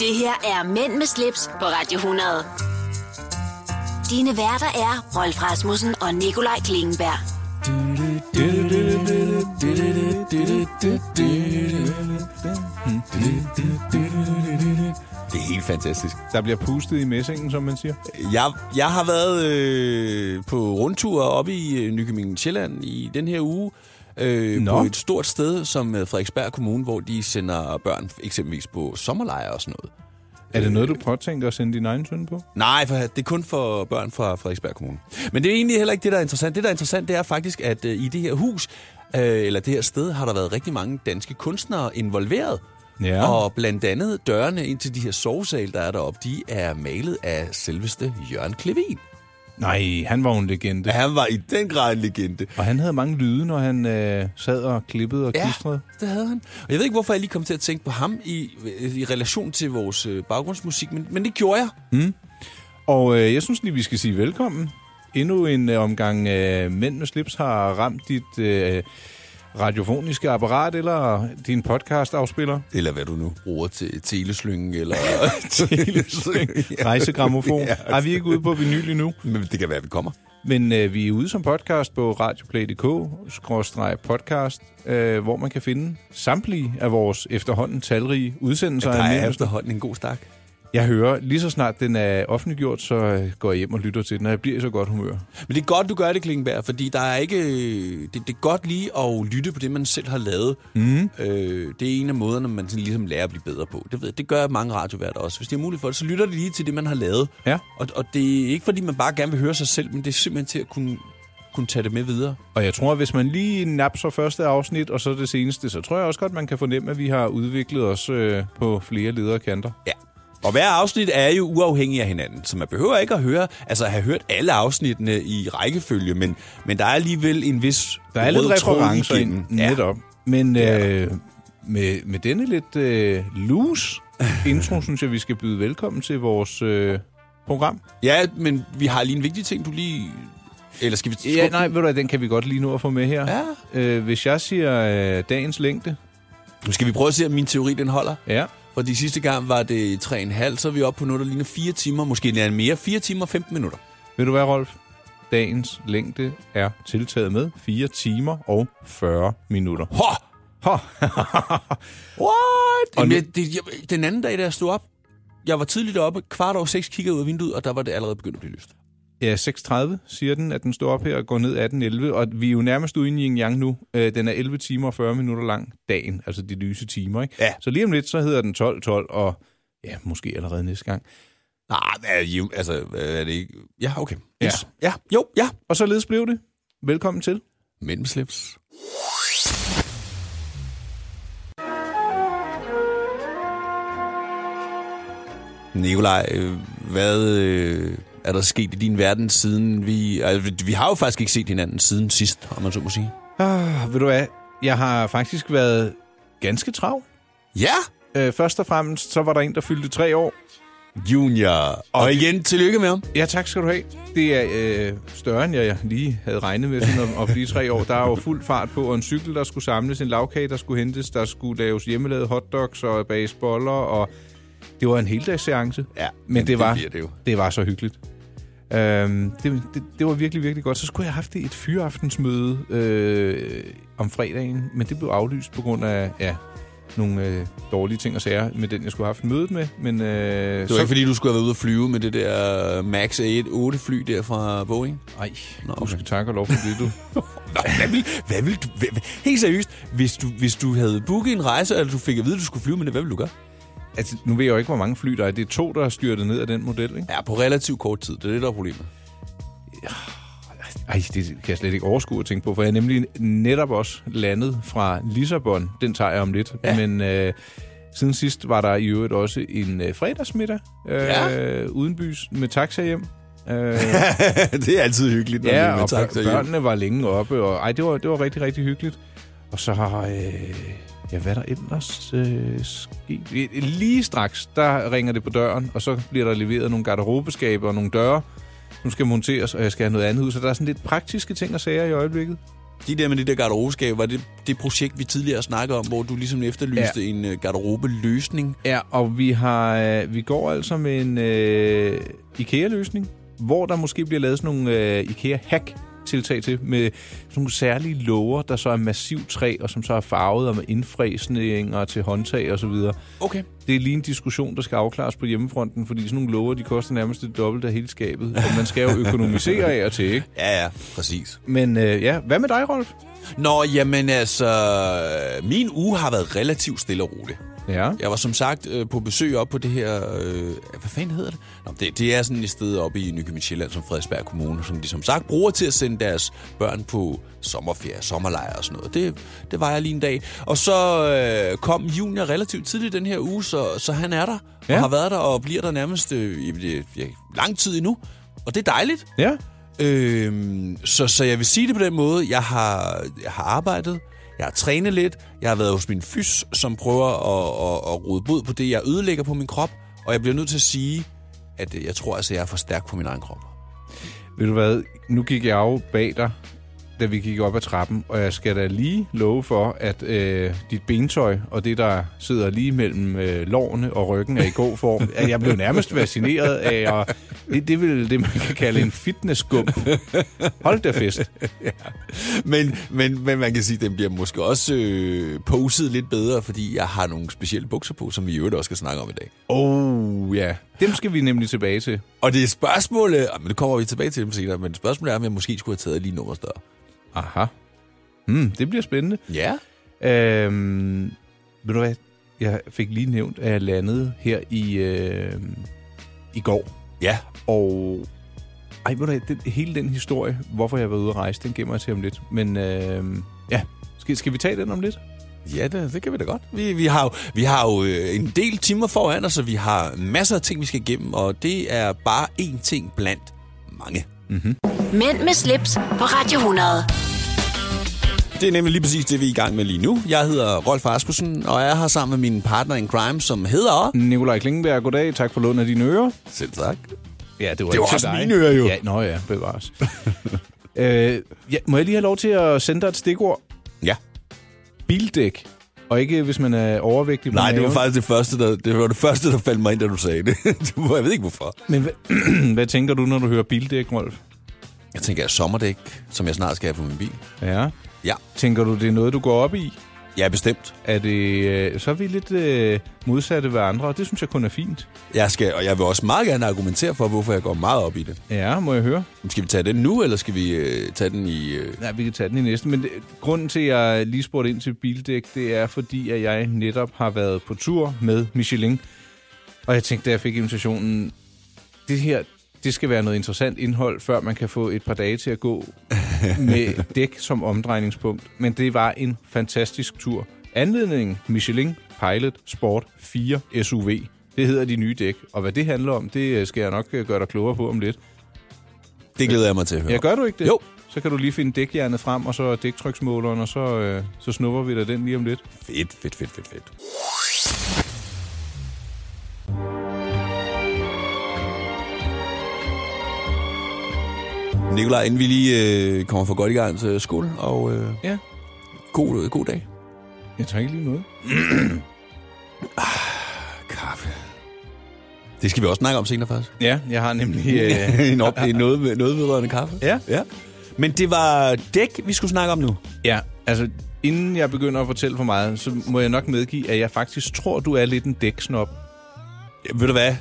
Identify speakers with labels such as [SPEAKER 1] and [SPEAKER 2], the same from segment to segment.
[SPEAKER 1] Det her er Mænd med slips på Radio 100. Dine værter er Rolf Rasmussen og Nikolaj Klingenberg.
[SPEAKER 2] Det er helt fantastisk.
[SPEAKER 3] Der bliver pustet i messingen, som man siger.
[SPEAKER 2] Jeg, jeg har været øh, på rundtur oppe i øh, Nykøbing Sjælland i den her uge. Øh,
[SPEAKER 3] Nå.
[SPEAKER 2] på et stort sted som øh, Frederiksberg Kommune, hvor de sender børn eksempelvis på sommerlejre og sådan noget.
[SPEAKER 3] Er det noget, du påtænker at sende din egen søn på?
[SPEAKER 2] Nej, for det er kun for børn fra Frederiksberg Kommune. Men det er egentlig heller ikke det, der er interessant. Det, der er interessant, det er faktisk, at øh, i det her hus, øh, eller det her sted, har der været rigtig mange danske kunstnere involveret.
[SPEAKER 3] Ja.
[SPEAKER 2] Og blandt andet dørene ind til de her sovesal, der er deroppe, de er malet af selveste Jørgen Klevin.
[SPEAKER 3] Nej, han var jo en legende.
[SPEAKER 2] Ja,
[SPEAKER 3] Ja.
[SPEAKER 2] han var i den grad en legende.
[SPEAKER 3] Og han havde mange lyde, når han øh, sad og klippede og klistrede.
[SPEAKER 2] det havde han. Og jeg ved ikke, hvorfor jeg lige kom til at tænke på ham i, øh, i relation til vores øh, baggrundsmusik, men, men det gjorde jeg.
[SPEAKER 3] Og øh, jeg synes lige, vi skal sige velkommen. Endnu en øh, omgang øh, Mænd med slips har ramt dit øh, radiofoniske apparat eller din podcast-afspiller.
[SPEAKER 2] Eller hvad du nu bruger til teleslyngen, eller...
[SPEAKER 3] Rejsegramofon. ja. Ej, vi er ikke ude på vinyl endnu.
[SPEAKER 2] Men det kan være, at vi kommer.
[SPEAKER 3] Men øh, vi er ude som podcast på radioplay.dk-podcast, øh, hvor man kan finde samtlige af vores efterhånden talrige udsendelser.
[SPEAKER 2] Der
[SPEAKER 3] af
[SPEAKER 2] er
[SPEAKER 3] Mænd-
[SPEAKER 2] efterhånden en god stak.
[SPEAKER 3] Jeg hører, lige så snart den er offentliggjort, så øh, går jeg hjem og lytter til den, og jeg bliver i så godt humør.
[SPEAKER 2] Men det er godt, du gør det, Klingenberg, fordi der er ikke... øh, Det, det er godt lige at lytte på det, man selv har lavet. Mm. Øh, det er en af måderne, man sådan ligesom lærer at blive bedre på. Det, ved, det gør mange radioværter også. Hvis det er muligt for det, så lytter de lige til det, man har lavet.
[SPEAKER 3] Ja.
[SPEAKER 2] Og, og det er ikke, fordi man bare gerne vil høre sig selv, men det er simpelthen til at kunne, kunne tage det med videre.
[SPEAKER 3] Og jeg tror, at hvis man lige napser første afsnit, og så det seneste, så tror jeg også godt, man kan fornemme, at vi har udviklet os øh, på flere ledere kanter.
[SPEAKER 2] Ja. Og hver afsnit er jo uafhængig af hinanden, så man behøver ikke at høre, altså have hørt alle afsnittene i rækkefølge, men, men der er alligevel en vis
[SPEAKER 3] Der er lidt
[SPEAKER 2] rød tråd
[SPEAKER 3] referencer
[SPEAKER 2] igennem.
[SPEAKER 3] ind, netop. Men øh, med, med denne lidt øh, loose intro, synes jeg, vi skal byde velkommen til vores øh, program.
[SPEAKER 2] Ja, men vi har lige en vigtig ting, du lige... Eller skal vi...
[SPEAKER 3] Ja, nej, ved du hvad, den kan vi godt lige nu at få med her.
[SPEAKER 2] Ja.
[SPEAKER 3] Øh, hvis jeg siger øh, dagens længde,
[SPEAKER 2] Nu skal vi prøve at se, om min teori den holder.
[SPEAKER 3] ja,
[SPEAKER 2] For de sidste gang var det 3,5, så er vi oppe på noget, der ligner 4 timer, måske endda mere. 4 timer og 15 minutter.
[SPEAKER 3] Ved du hvad, Rolf? Dagens længde er tiltaget med 4 timer og 40 minutter.
[SPEAKER 2] Hå!
[SPEAKER 3] Hå!
[SPEAKER 2] What?
[SPEAKER 3] Og
[SPEAKER 2] Og
[SPEAKER 3] nu-
[SPEAKER 2] jeg, det, jeg, den anden dag, da jeg stod op, jeg var tidligt oppe, kvart over 6 kiggede ud af vinduet, og der var det allerede begyndt at blive lyst.
[SPEAKER 3] ja, 6.30 siger den, at den står op her og går ned 18.11, og vi er jo nærmest ude i en yang nu. Øh, Den er 11 timer og 40 minutter lang dagen, altså de lyse timer, ikke?
[SPEAKER 2] Ja.
[SPEAKER 3] Så lige om lidt, så hedder den 12.12, og ja, måske allerede næste gang.
[SPEAKER 2] Nej, men er det- altså, er det ikke... Ja, okay.
[SPEAKER 3] Ja.
[SPEAKER 2] Yes. ja. Jo, ja.
[SPEAKER 3] Og således blev det. Velkommen til.
[SPEAKER 2] Mænd med slips. Nikolaj, øh, hvad øh, er der sket i din verden siden vi... Altså, vi- vi har jo faktisk ikke set hinanden siden sidst, om man så må sige.
[SPEAKER 3] Ah, ved du hvad? Jeg har faktisk været ganske travl.
[SPEAKER 2] Ja!
[SPEAKER 3] Øh, Først og fremmest, så var der en, der fyldte tre år.
[SPEAKER 2] Junior. Og igen, tillykke med ham.
[SPEAKER 3] Ja, tak skal du have. Det er øh, større, end jeg lige havde regnet med sådan om, om de tre år. Der er jo fuld fart på, og en cykel, der skulle samles, en lavkage, der skulle hentes, der skulle laves hjemmelavede hotdogs og bages boller, og det var en heldagsseance.
[SPEAKER 2] Ja,
[SPEAKER 3] men, men det, var,
[SPEAKER 2] bliver det jo.
[SPEAKER 3] det var så hyggeligt. Øhm, det, det, det var virkelig, virkelig godt. Så skulle jeg have haft et fyraftensmøde øh, om fredagen, men det blev aflyst på grund af ja, nogle øh, dårlige ting og sager med den, jeg skulle have haft mødet med. Men, øh,
[SPEAKER 2] Det var ikke, fordi du skulle have været ude og flyve med det der øh, Max 8 fly der fra Boeing?
[SPEAKER 3] Ej,
[SPEAKER 2] Nå,
[SPEAKER 3] Nå,
[SPEAKER 2] okay.
[SPEAKER 3] okay. du skal takke og lov for det, du.
[SPEAKER 2] Nå, hvad vil, hvad vil du, hvad, hvad- helt seriøst, hvis du, hvis du havde booket en rejse, eller du fik at vide, at du skulle flyve med det, hvad ville du gøre?
[SPEAKER 3] Altså, nu ved jeg jo ikke, hvor mange fly der er. Det er to, der er styrtet ned af den model, ikke?
[SPEAKER 2] Ja, på relativt kort tid. Det er det, der er problemet.
[SPEAKER 3] Ej, det kan jeg slet ikke overskue at tænke på, for jeg er nemlig netop også landet fra Lissabon. Den tager jeg om lidt.
[SPEAKER 2] Ja.
[SPEAKER 3] Ja. Men øh, siden sidst var der i øvrigt også en øh, fredagsmiddag øh,
[SPEAKER 2] Ja.
[SPEAKER 3] ja. uden bys med taxa hjem. Øh,
[SPEAKER 2] det er altid hyggeligt,
[SPEAKER 3] ja, og bør- børnene var længe oppe, og ej, det var, det var rigtig, rigtig hyggeligt. Og så har... Øh, ja, hvad er der ellers øh, sket? Lige straks, der ringer det på døren, og så bliver der leveret nogle garderobeskaber og nogle døre. Nu skal monteres, og jeg skal have noget andet ud. Så der er sådan lidt praktiske ting og sager i øjeblikket.
[SPEAKER 2] De der med de der garderobeskaber, var det det projekt, vi tidligere snakkede om, hvor du ligesom efterlyste ja. en øh, garderobeløsning?
[SPEAKER 3] Ja, og vi, har, øh, vi går altså med en øh, IKEA-løsning, hvor der måske bliver lavet sådan nogle øh, IKEA-hack tiltag til, med sådan nogle særlige låger, der så er massivt træ, og som så er farvet og med indfræsninger til håndtag og så videre.
[SPEAKER 2] Okay.
[SPEAKER 3] Det er lige en diskussion, der skal afklares på hjemmefronten, fordi sådan nogle låger, de koster nærmest det dobbelte af hele skabet, og man skal jo økonomisere af og til, ikke?
[SPEAKER 2] Ja, ja, præcis.
[SPEAKER 3] Men øh, ja, hvad med dig, Rolf?
[SPEAKER 2] Nå, jamen altså, min uge har været relativt stille og rolig.
[SPEAKER 3] Ja.
[SPEAKER 2] Jeg var som sagt øh, på besøg op på det her... Øh, hvad fanden hedder det? Nå, det? Det er sådan et sted oppe i Nykøbing Sjælland, som Frederiksberg Kommune, som de som sagt bruger til at sende deres børn på sommerferie, sommerlejre og sådan noget. Det, det var jeg lige en dag. Og så øh, kom Junior relativt tidligt den her uge, så, så han er der ja.
[SPEAKER 3] Ja.
[SPEAKER 2] og har været der og bliver der nærmest øh, i- i- ja, lang tid endnu. Og det er dejligt.
[SPEAKER 3] Ja.
[SPEAKER 2] Øhm, så, så jeg vil sige det på den måde. Jeg har, jeg har arbejdet, jeg har trænet lidt, jeg har været hos min fys, som prøver at, at, at rode bod på det, jeg ødelægger på min krop. Og jeg bliver nødt til at sige, at øh, jeg tror altså, jeg er for stærk på min egen krop.
[SPEAKER 3] Ved du hvad, nu gik jeg jo bag dig, da vi gik op ad trappen, og jeg skal da lige love for, at øh, dit bentøj og det, der sidder lige mellem øh, lårene og ryggen, er i god form. At jeg blev nærmest fascineret af, og det, det er vel det, man kan kalde en fitnessgump. Hold da fest.
[SPEAKER 2] Men, men, men man kan sige, at den bliver måske også øh, poset lidt bedre, fordi jeg har nogle specielle bukser på, som vi i øvrigt også skal snakke om i dag.
[SPEAKER 3] Oh ja, dem skal vi nemlig tilbage til.
[SPEAKER 2] Og det er spørgsmålet, ah, men det kommer vi tilbage til dem senere, men spørgsmålet er, om jeg måske skulle have taget lige nummer større.
[SPEAKER 3] Aha. Hmm, det bliver spændende.
[SPEAKER 2] Ja.
[SPEAKER 3] Øhm, ved du hvad? Jeg fik lige nævnt, at jeg landede her i, øh, i går.
[SPEAKER 2] Ja.
[SPEAKER 3] Og ej, ved du hvad, den, hele den historie, hvorfor jeg var ude at rejse, den gemmer jeg til om lidt. Men øh, ja, skal, skal vi tage den om lidt?
[SPEAKER 2] Ja, det, det kan vi da godt. Vi, vi har jo, vi har jo øh, en del timer foran os, så vi har masser af ting, vi skal igennem, og det er bare én ting blandt mange.
[SPEAKER 1] Mænd med slips på Radio 100.
[SPEAKER 2] Det er nemlig lige præcis det, vi er i gang med lige nu. Jeg hedder Rolf Asmussen, og jeg er her sammen med min partner in crime, som hedder...
[SPEAKER 3] Nikolaj Klingenberg, goddag. Tak for lånet af dine ører.
[SPEAKER 2] Selv tak.
[SPEAKER 3] Ja, det var,
[SPEAKER 2] Det var
[SPEAKER 3] ikke til
[SPEAKER 2] også
[SPEAKER 3] dig.
[SPEAKER 2] mine ører jo.
[SPEAKER 3] Ja, nå ja, bevares. øh, ja, må jeg lige have lov til at sende dig et stikord?
[SPEAKER 2] Ja.
[SPEAKER 3] Bildæk. Og ikke, hvis man er overvægtig. på
[SPEAKER 2] Nej, det var
[SPEAKER 3] maven.
[SPEAKER 2] faktisk det første, der, det var det første, der faldt mig ind, da du sagde det. Det var- jeg ved ikke, hvorfor.
[SPEAKER 3] Men hvad, hvad tænker du, når du hører bildæk, Rolf?
[SPEAKER 2] Jeg tænker, jeg sommerdæk, som jeg snart skal have på min bil.
[SPEAKER 3] Ja.
[SPEAKER 2] Ja,
[SPEAKER 3] Tænker du, det er noget, du går op i?
[SPEAKER 2] jeg er bestemt.
[SPEAKER 3] Er det, øh, så er vi lidt øh, modsatte ved andre, og det synes jeg kun er fint.
[SPEAKER 2] Jeg skal, og jeg vil også meget gerne argumentere for, hvorfor jeg går meget op i det.
[SPEAKER 3] Ja, må jeg høre?
[SPEAKER 2] Skal vi tage den nu, eller skal vi øh, tage den i... Øh...
[SPEAKER 3] Nej, vi kan tage den i næste. Men det, grunden til, at jeg lige spurgte ind til bildæk, det er fordi, at jeg netop har været på tur med Michelin. Og jeg tænkte, da jeg fik invitationen, det her, det skal være noget interessant indhold, før man kan få et par dage til at gå med dæk som omdrejningspunkt. Men det var en fantastisk tur. Anledningen, Michelin Pilot Sport 4 SUV. Det hedder de nye dæk. Og hvad det handler om, det øh, skal jeg nok øh, gøre dig klogere på om lidt.
[SPEAKER 2] Det glæder jeg mig til at høre.
[SPEAKER 3] Ja, gør du ikke det?
[SPEAKER 2] Jo.
[SPEAKER 3] Så kan du lige finde dækjernet frem, og så dæktryksmåleren, og så, øh, så snupper vi dig den lige om lidt.
[SPEAKER 2] Fedt, fedt, fedt, fedt, fedt. Nikolaj, inden vi lige øh, kommer for godt i gang, så skål, og øh,
[SPEAKER 3] Ja.
[SPEAKER 2] god, øh, god dag.
[SPEAKER 3] Jeg tager ikke lige noget.
[SPEAKER 2] Kaffe. Det skal vi også snakke om senere, faktisk.
[SPEAKER 3] Ja, jeg har nemlig... Øh,
[SPEAKER 2] en op, en noget, ved- noget vedrørende kaffe.
[SPEAKER 3] ja.
[SPEAKER 2] ja. Men det var dæk, vi skulle snakke om nu.
[SPEAKER 3] ja, altså inden jeg begynder at fortælle for meget, så må jeg nok medgive, at jeg faktisk tror, du er lidt en dæksnop.
[SPEAKER 2] Ja, ved du hvad?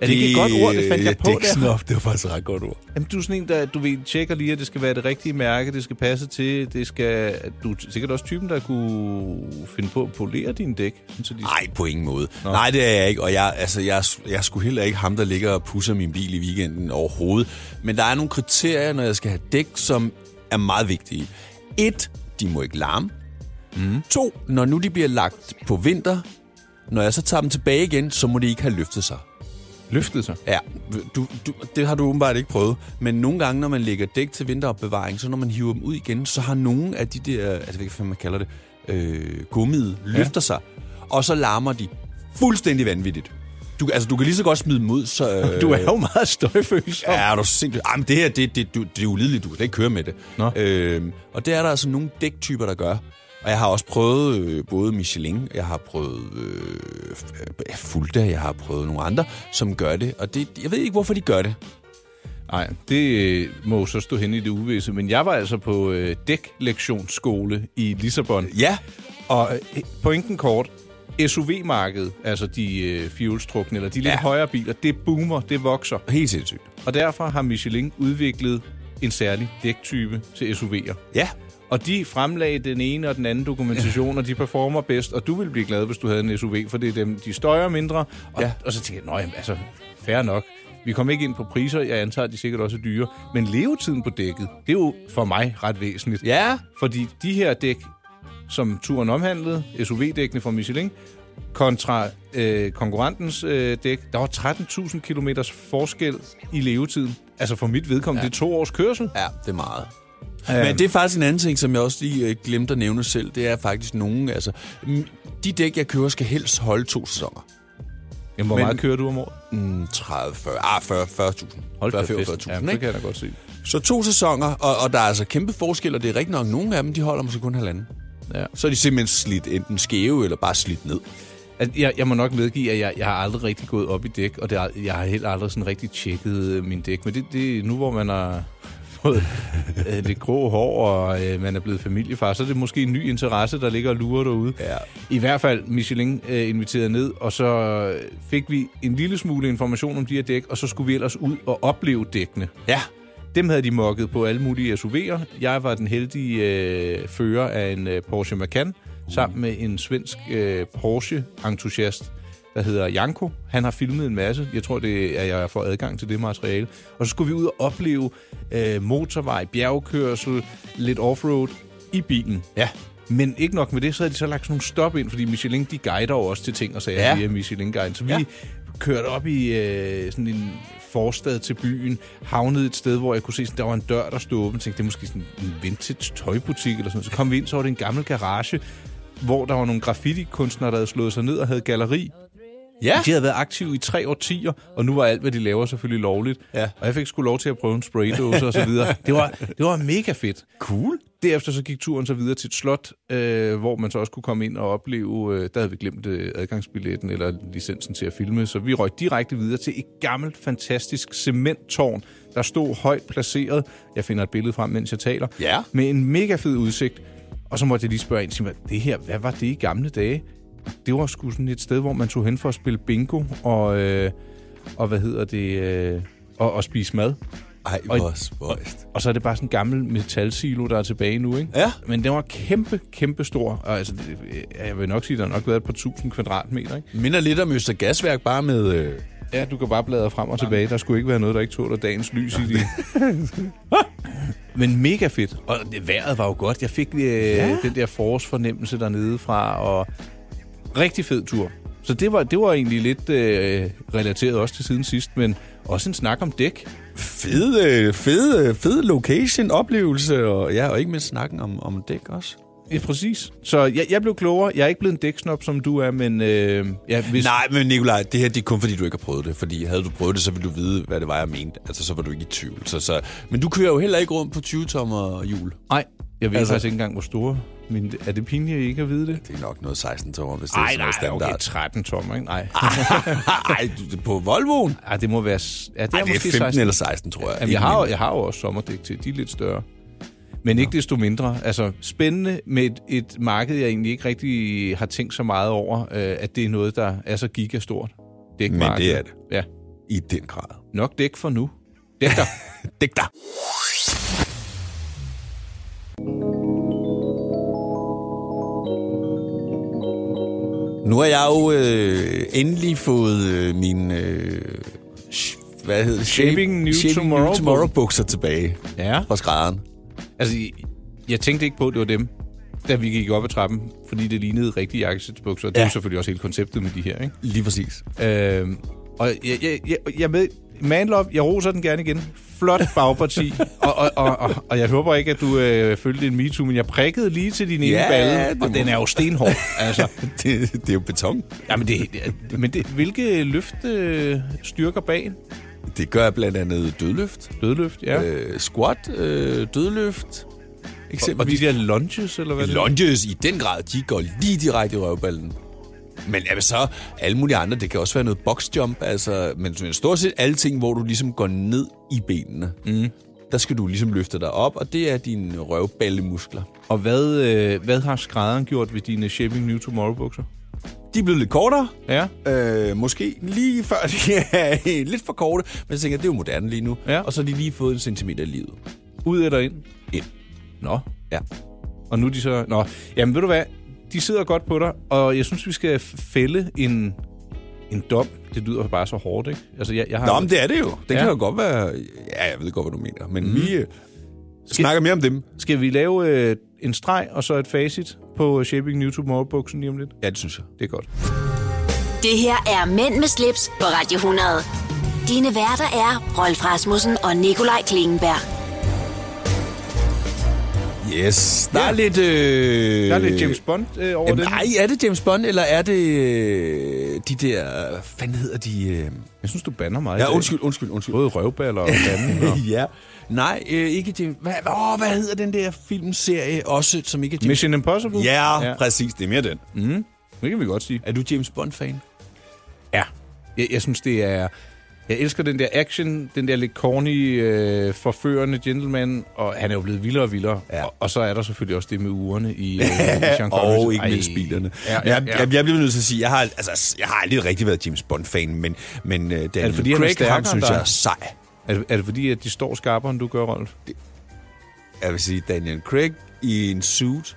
[SPEAKER 3] Er det ikke et godt ord? Det fandt jeg på der.
[SPEAKER 2] Dæksnop, det var faktisk et ret godt ord.
[SPEAKER 3] Jamen, du er sådan en, der du ved, tjekker lige, at det skal være det rigtige mærke, det skal passe til, det skal... Du er sikkert også typen, der kunne finde på at polere dine dæk. sådan Så de...
[SPEAKER 2] Nej, på ingen måde. Nå. Nej, det er jeg ikke, og jeg, altså, jeg, jeg er sgu heller ikke ham, der ligger og pusser min bil i weekenden overhovedet. Men der er nogle kriterier, når jeg skal have dæk, som er meget vigtige. Et, de må ikke larme. Mm. To, når nu de bliver lagt på vinter, når jeg så tager dem tilbage igen, så må de ikke have løftet sig.
[SPEAKER 3] Løftet sig.
[SPEAKER 2] Ja, du, du, det har du åbenbart ikke prøvet. Men nogle gange, når man lægger dæk til vinteropbevaring, så når man hiver dem ud igen, så har nogle af de der, altså hvad fanden man kalder det, øh, gummiet, løfter sig. Og så larmer de fuldstændig vanvittigt. Du, altså, du kan lige så godt smide dem ud, så... øh,
[SPEAKER 3] Du er jo meget støjfølsom.
[SPEAKER 2] Ja, er du sindssygt. Ej, men det her, det, det, du, det er ulideligt. Du kan slet ikke køre med det.
[SPEAKER 3] Nå.
[SPEAKER 2] Øhm, og det er der altså nogle dæktyper, der gør. Og jeg har også prøvet øh, både Michelin, jeg har prøvet øh, f- Fulda, jeg har prøvet nogle andre, som gør det. Og det, jeg ved ikke, hvorfor de gør det.
[SPEAKER 3] Nej, det øh, må jo så stå hen i det uvisse. Men jeg var altså på øh, dæklektionsskole i Lissabon.
[SPEAKER 2] Ja,
[SPEAKER 3] Og øh, pointen kort, SUV-markedet, altså de øh, fjolstrukne, eller de lidt
[SPEAKER 2] Ja.
[SPEAKER 3] højere biler, det boomer, det vokser.
[SPEAKER 2] helt sindssygt.
[SPEAKER 3] Og derfor har Michelin udviklet en særlig dæktype til SUV'er.
[SPEAKER 2] Ja,
[SPEAKER 3] Og de fremlagde den ene og den anden dokumentation, og de performer bedst, og du ville blive glad, hvis du havde en SUV, for det er dem, de støjer mindre. Og,
[SPEAKER 2] Ja.
[SPEAKER 3] og så tænkte jeg, nej, altså, fair nok. Vi kom ikke ind på priser, jeg antager, at de sikkert også er dyre. Men levetiden på dækket, det er jo for mig ret væsentligt.
[SPEAKER 2] ja.
[SPEAKER 3] Fordi de her dæk, som turen omhandlede, SUV-dækkene fra Michelin, kontra øh, konkurrentens øh, dæk, der var 13.000 km forskel i levetiden. Altså for mit vedkommende, ja. det er to års kørsel.
[SPEAKER 2] Ja, det er meget.
[SPEAKER 3] Øhm.
[SPEAKER 2] Men det er faktisk en anden ting, som jeg også lige øh, glemte at nævne selv. Det er faktisk nogen, altså... mm, De dæk, jeg kører, skal helst holde to sæsoner.
[SPEAKER 3] Jamen, hvor
[SPEAKER 2] Men-
[SPEAKER 3] meget kører du om året?
[SPEAKER 2] Mm, 30, 40, ah, 40, 40.000.
[SPEAKER 3] da
[SPEAKER 2] 40,
[SPEAKER 3] fest.
[SPEAKER 2] 45.000,
[SPEAKER 3] Ja,
[SPEAKER 2] ikke?
[SPEAKER 3] det kan jeg da godt se.
[SPEAKER 2] Så to sæsoner, og, og der er altså kæmpe forskel, og det er rigtig nok, nogle af dem, de holder måske kun halvanden.
[SPEAKER 3] Ja.
[SPEAKER 2] Så er de simpelthen slidt enten skæve, eller bare slidt ned.
[SPEAKER 3] Altså, jeg, jeg må nok medgive, at jeg, jeg har aldrig rigtig gået op i dæk, og det er, jeg har heller aldrig sådan rigtig tjekket øh, min dæk. Men det, det nu, hvor man har fået øh, lidt grå hår, og øh, man er blevet familiefar, så er det måske en ny interesse, der ligger og lurer derude.
[SPEAKER 2] Ja.
[SPEAKER 3] I hvert fald Michelin øh, inviteret ned, og så øh, fik vi en lille smule information om de her dæk, og så skulle vi ellers ud og opleve dækkene.
[SPEAKER 2] Ja,
[SPEAKER 3] Dem havde de mokket på alle mulige SUV'er. Jeg var den heldige øh, fører af en øh, Porsche Macan, sammen med en svensk øh, Porsche-entusiast, der hedder Janko. Han har filmet en masse. Jeg tror, det er, jeg får adgang til det materiale. Og så skulle vi ud og opleve øh, motorvej, bjergkørsel, lidt offroad i bilen.
[SPEAKER 2] ja.
[SPEAKER 3] Men ikke nok med det, så havde de så lagt sådan nogle stop ind, fordi Michelin, de guider jo også til ting og sager ja.
[SPEAKER 2] Ja.
[SPEAKER 3] via Michelin-guiden. Så vi ja.
[SPEAKER 2] Ja.
[SPEAKER 3] kørte op i øh, sådan en forstad til byen, havnede et sted, hvor jeg kunne se, sådan, der var en dør, der stod åben. Jeg tænkte, det er måske sådan en vintage tøjbutik eller sådan noget. Så kom vi ind, så var det en gammel garage, hvor der var nogle graffiti-kunstnere, der havde slået sig ned og havde galleri.
[SPEAKER 2] Ja,
[SPEAKER 3] De havde været aktive i tre årtier, og nu var alt, hvad de laver, selvfølgelig lovligt.
[SPEAKER 2] Ja.
[SPEAKER 3] Og jeg fik sgu lov til at prøve en spraydose og så videre. Det var, det var mega fedt.
[SPEAKER 2] cool.
[SPEAKER 3] Derefter så gik turen så videre til et slot, øh, hvor man så også kunne komme ind og opleve, øh, der havde vi glemt øh, adgangsbilletten eller licensen til at filme, så vi røg direkte videre til et gammelt, fantastisk cementtårn, der stod højt placeret. Jeg finder et billede frem, mens jeg taler.
[SPEAKER 2] Ja.
[SPEAKER 3] Med en mega fed udsigt. Og så måtte jeg lige spørge en, sig mig, det her, hvad var det i gamle dage? Det var sgu sådan et sted, hvor man tog hen for at spille bingo og, øh, og hvad hedder det, øh, og, og spise mad.
[SPEAKER 2] Ej,
[SPEAKER 3] Og-
[SPEAKER 2] hvor spøjst.
[SPEAKER 3] Og så er det bare sådan en gammel metalsilo, der er tilbage nu, ikke?
[SPEAKER 2] Ja.
[SPEAKER 3] Men den var kæmpe, kæmpe stor. Og altså, det- jeg vil nok sige, at der har nok været et par tusind kvadratmeter, ikke?
[SPEAKER 2] Minder lidt om Øster Gasværk, bare med... Øh...
[SPEAKER 3] Ja, du kan bare bladre frem og tilbage. Der skulle ikke være noget, der ikke tåler dagens lys i det. Men mega fedt. Og det, vejret var jo godt. Jeg fik øh, ja. den der forårsfornemmelse dernede fra, og rigtig fed tur. Så det var, det var egentlig lidt øh, relateret også til siden sidst, men også en snak om dæk.
[SPEAKER 2] Fed, øh, fed, øh, fed location, oplevelse, og, ja, og ikke mindst snakken om, om dæk også.
[SPEAKER 3] Ja, præcis. Så jeg, jeg blev klogere. Jeg er ikke blevet en dæksnop, som du er, men øh, ja, hvis,
[SPEAKER 2] Nej, men Nikolaj, det her det er kun fordi, du ikke har prøvet det. Fordi havde du prøvet det, så ville du vide, hvad det var, jeg mente. Altså, så var du ikke i tvivl. Så, så... Men du kører jo heller ikke rundt på 20-tommer hjul.
[SPEAKER 3] nej, jeg ved altså,
[SPEAKER 2] Altså-
[SPEAKER 3] faktisk ikke engang, hvor store. Men er det pinligt, at I ikke at vide det?
[SPEAKER 2] Det er nok noget 16-tommer, hvis det er sådan noget standard.
[SPEAKER 3] okay, 13 tommer, ikke? Nej,
[SPEAKER 2] Ej, du- det- på Volvoen?
[SPEAKER 3] Ej, det må være... s- Ja, det,
[SPEAKER 2] Ej, det er
[SPEAKER 3] måske
[SPEAKER 2] 15 16. eller 16, tror jeg.
[SPEAKER 3] Jamen, jeg, har, jo- jeg har jo også sommerdæk til, de er lidt større. Men ikke desto mindre. Altså, spændende med et, et marked, jeg egentlig ikke rigtig har tænkt så meget over, øh, at det er noget, der er så gigastort. Dækmarked.
[SPEAKER 2] Men det er det.
[SPEAKER 3] Ja,
[SPEAKER 2] I den grad.
[SPEAKER 3] nok dæk for nu. Dæk dig.
[SPEAKER 2] Dæk dig. Nu har jeg jo øh, endelig fået øh, min... Øh, sh- hvad hedder det?
[SPEAKER 3] Shaping New Tomorrow-
[SPEAKER 2] Tomorrow bukser tilbage
[SPEAKER 3] ja.
[SPEAKER 2] fra skrædderen.
[SPEAKER 3] Altså, jeg- jeg tænkte ikke på, at det var dem, da vi gik op ad trappen, fordi det lignede rigtige jakkesætsbukser. Ja. Det er
[SPEAKER 2] Ja.
[SPEAKER 3] jo selvfølgelig også hele konceptet med de her, ikke?
[SPEAKER 2] Lige præcis.
[SPEAKER 3] Øhm, og jeg, jeg, jeg, jeg, med, Man Love, jeg roser den gerne igen. Flot bagparti. og, og, og, og, og jeg håber ikke, at du øh, følte en MeToo, men jeg prikkede lige til din ene
[SPEAKER 2] Ja,
[SPEAKER 3] balle,
[SPEAKER 2] det
[SPEAKER 3] og
[SPEAKER 2] må-
[SPEAKER 3] den er jo stenhård. altså,
[SPEAKER 2] det, det er jo beton.
[SPEAKER 3] jamen det, det, men det, hvilke løft øh, styrker bag?
[SPEAKER 2] Det gør jeg blandt andet dødløft,
[SPEAKER 3] Dødløft, ja. Øh,
[SPEAKER 2] øh, squat, øh, dødløft.
[SPEAKER 3] og, og de der lunges, eller hvad det er?
[SPEAKER 2] Lunges i den grad, de går lige direkte i røvballen. Men jamen, så alle mulige andre, det kan også være noget boxjump, altså, men men stort set alle ting, hvor du ligesom går ned i benene, mm. der skal du ligesom løfte dig op, og det er dine røvballemuskler.
[SPEAKER 3] Og hvad, øh, hvad har skrædderen gjort ved dine Shaping New Tomorrow-bukser?
[SPEAKER 2] De er blevet lidt kortere,
[SPEAKER 3] Ja,
[SPEAKER 2] øh, måske lige før de er lidt for korte, men jeg tænker, det er jo moderne lige nu,
[SPEAKER 3] Ja.
[SPEAKER 2] og så har de lige fået en centimeter i livet.
[SPEAKER 3] ud eller ind?
[SPEAKER 2] Ind.
[SPEAKER 3] Nå,
[SPEAKER 2] Ja.
[SPEAKER 3] Og nu er de så... Nå, jamen ved du hvad? De sidder godt på dig, og jeg synes, vi skal fælde en, en dom. Det lyder bare så hårdt, ikke? Altså, jeg, jeg har...
[SPEAKER 2] Nå, men det er det jo. Det ja.
[SPEAKER 3] Ja.
[SPEAKER 2] kan jo godt være... Ja, jeg ved godt, hvad du mener, men mm. vi øh, snakker mere om dem.
[SPEAKER 3] Skal vi lave øh, en streg og så et facit på øh, Shaping New Tomorrow-buksen lige om lidt?
[SPEAKER 2] Ja, det synes jeg.
[SPEAKER 3] Det er godt.
[SPEAKER 1] Det her er Mænd med slips på Radio 100. Dine værter er Rolf Rasmussen og Nikolaj Klingenberg.
[SPEAKER 2] Yes, der er lidt... Øh...
[SPEAKER 3] Der er lidt James Bond øh, over
[SPEAKER 2] Jamen,
[SPEAKER 3] det.
[SPEAKER 2] nej, er det James Bond, eller er det øh, de der... Hvad fanden hedder de? Øh...
[SPEAKER 3] Jeg synes, du banner mig. i
[SPEAKER 2] Ja,
[SPEAKER 3] dag.
[SPEAKER 2] undskyld, undskyld, undskyld.
[SPEAKER 3] Både røvballer og banden. og...
[SPEAKER 2] ja. Nej, øh, ikke James... Hvad, åh, hvad hedder den der filmserie også, som ikke er James
[SPEAKER 3] Mission Impossible?
[SPEAKER 2] Ja,
[SPEAKER 3] ja. Mm.
[SPEAKER 2] ja, præcis. Det er mere den.
[SPEAKER 3] Det kan vi godt sige.
[SPEAKER 2] Er du James Bond-fan?
[SPEAKER 3] Ja. Jeg, jeg synes, det er... Jeg elsker den der action, den der lidt corny, øh, forførende gentleman, og han er jo blevet vildere og vildere. Ja.
[SPEAKER 2] Ja.
[SPEAKER 3] Og, og så er der selvfølgelig også det med ugerne i, øh, i Sean Connerys.
[SPEAKER 2] Og ikke
[SPEAKER 3] Ej.
[SPEAKER 2] mindst bilerne.
[SPEAKER 3] Ja, ja, ja.
[SPEAKER 2] Jeg, jeg, jeg bliver nødt til at sige, jeg har, altså, jeg har aldrig rigtig været James Bond-fan, men, men øh, Daniel
[SPEAKER 3] fordi, han er
[SPEAKER 2] Craig, ham
[SPEAKER 3] stærkere
[SPEAKER 2] synes
[SPEAKER 3] end dig?
[SPEAKER 2] jeg er sej.
[SPEAKER 3] Er, det, er det fordi, at de står skarpere, end du gør, Rolf?
[SPEAKER 2] Jeg vil sige, Daniel Craig i en suit,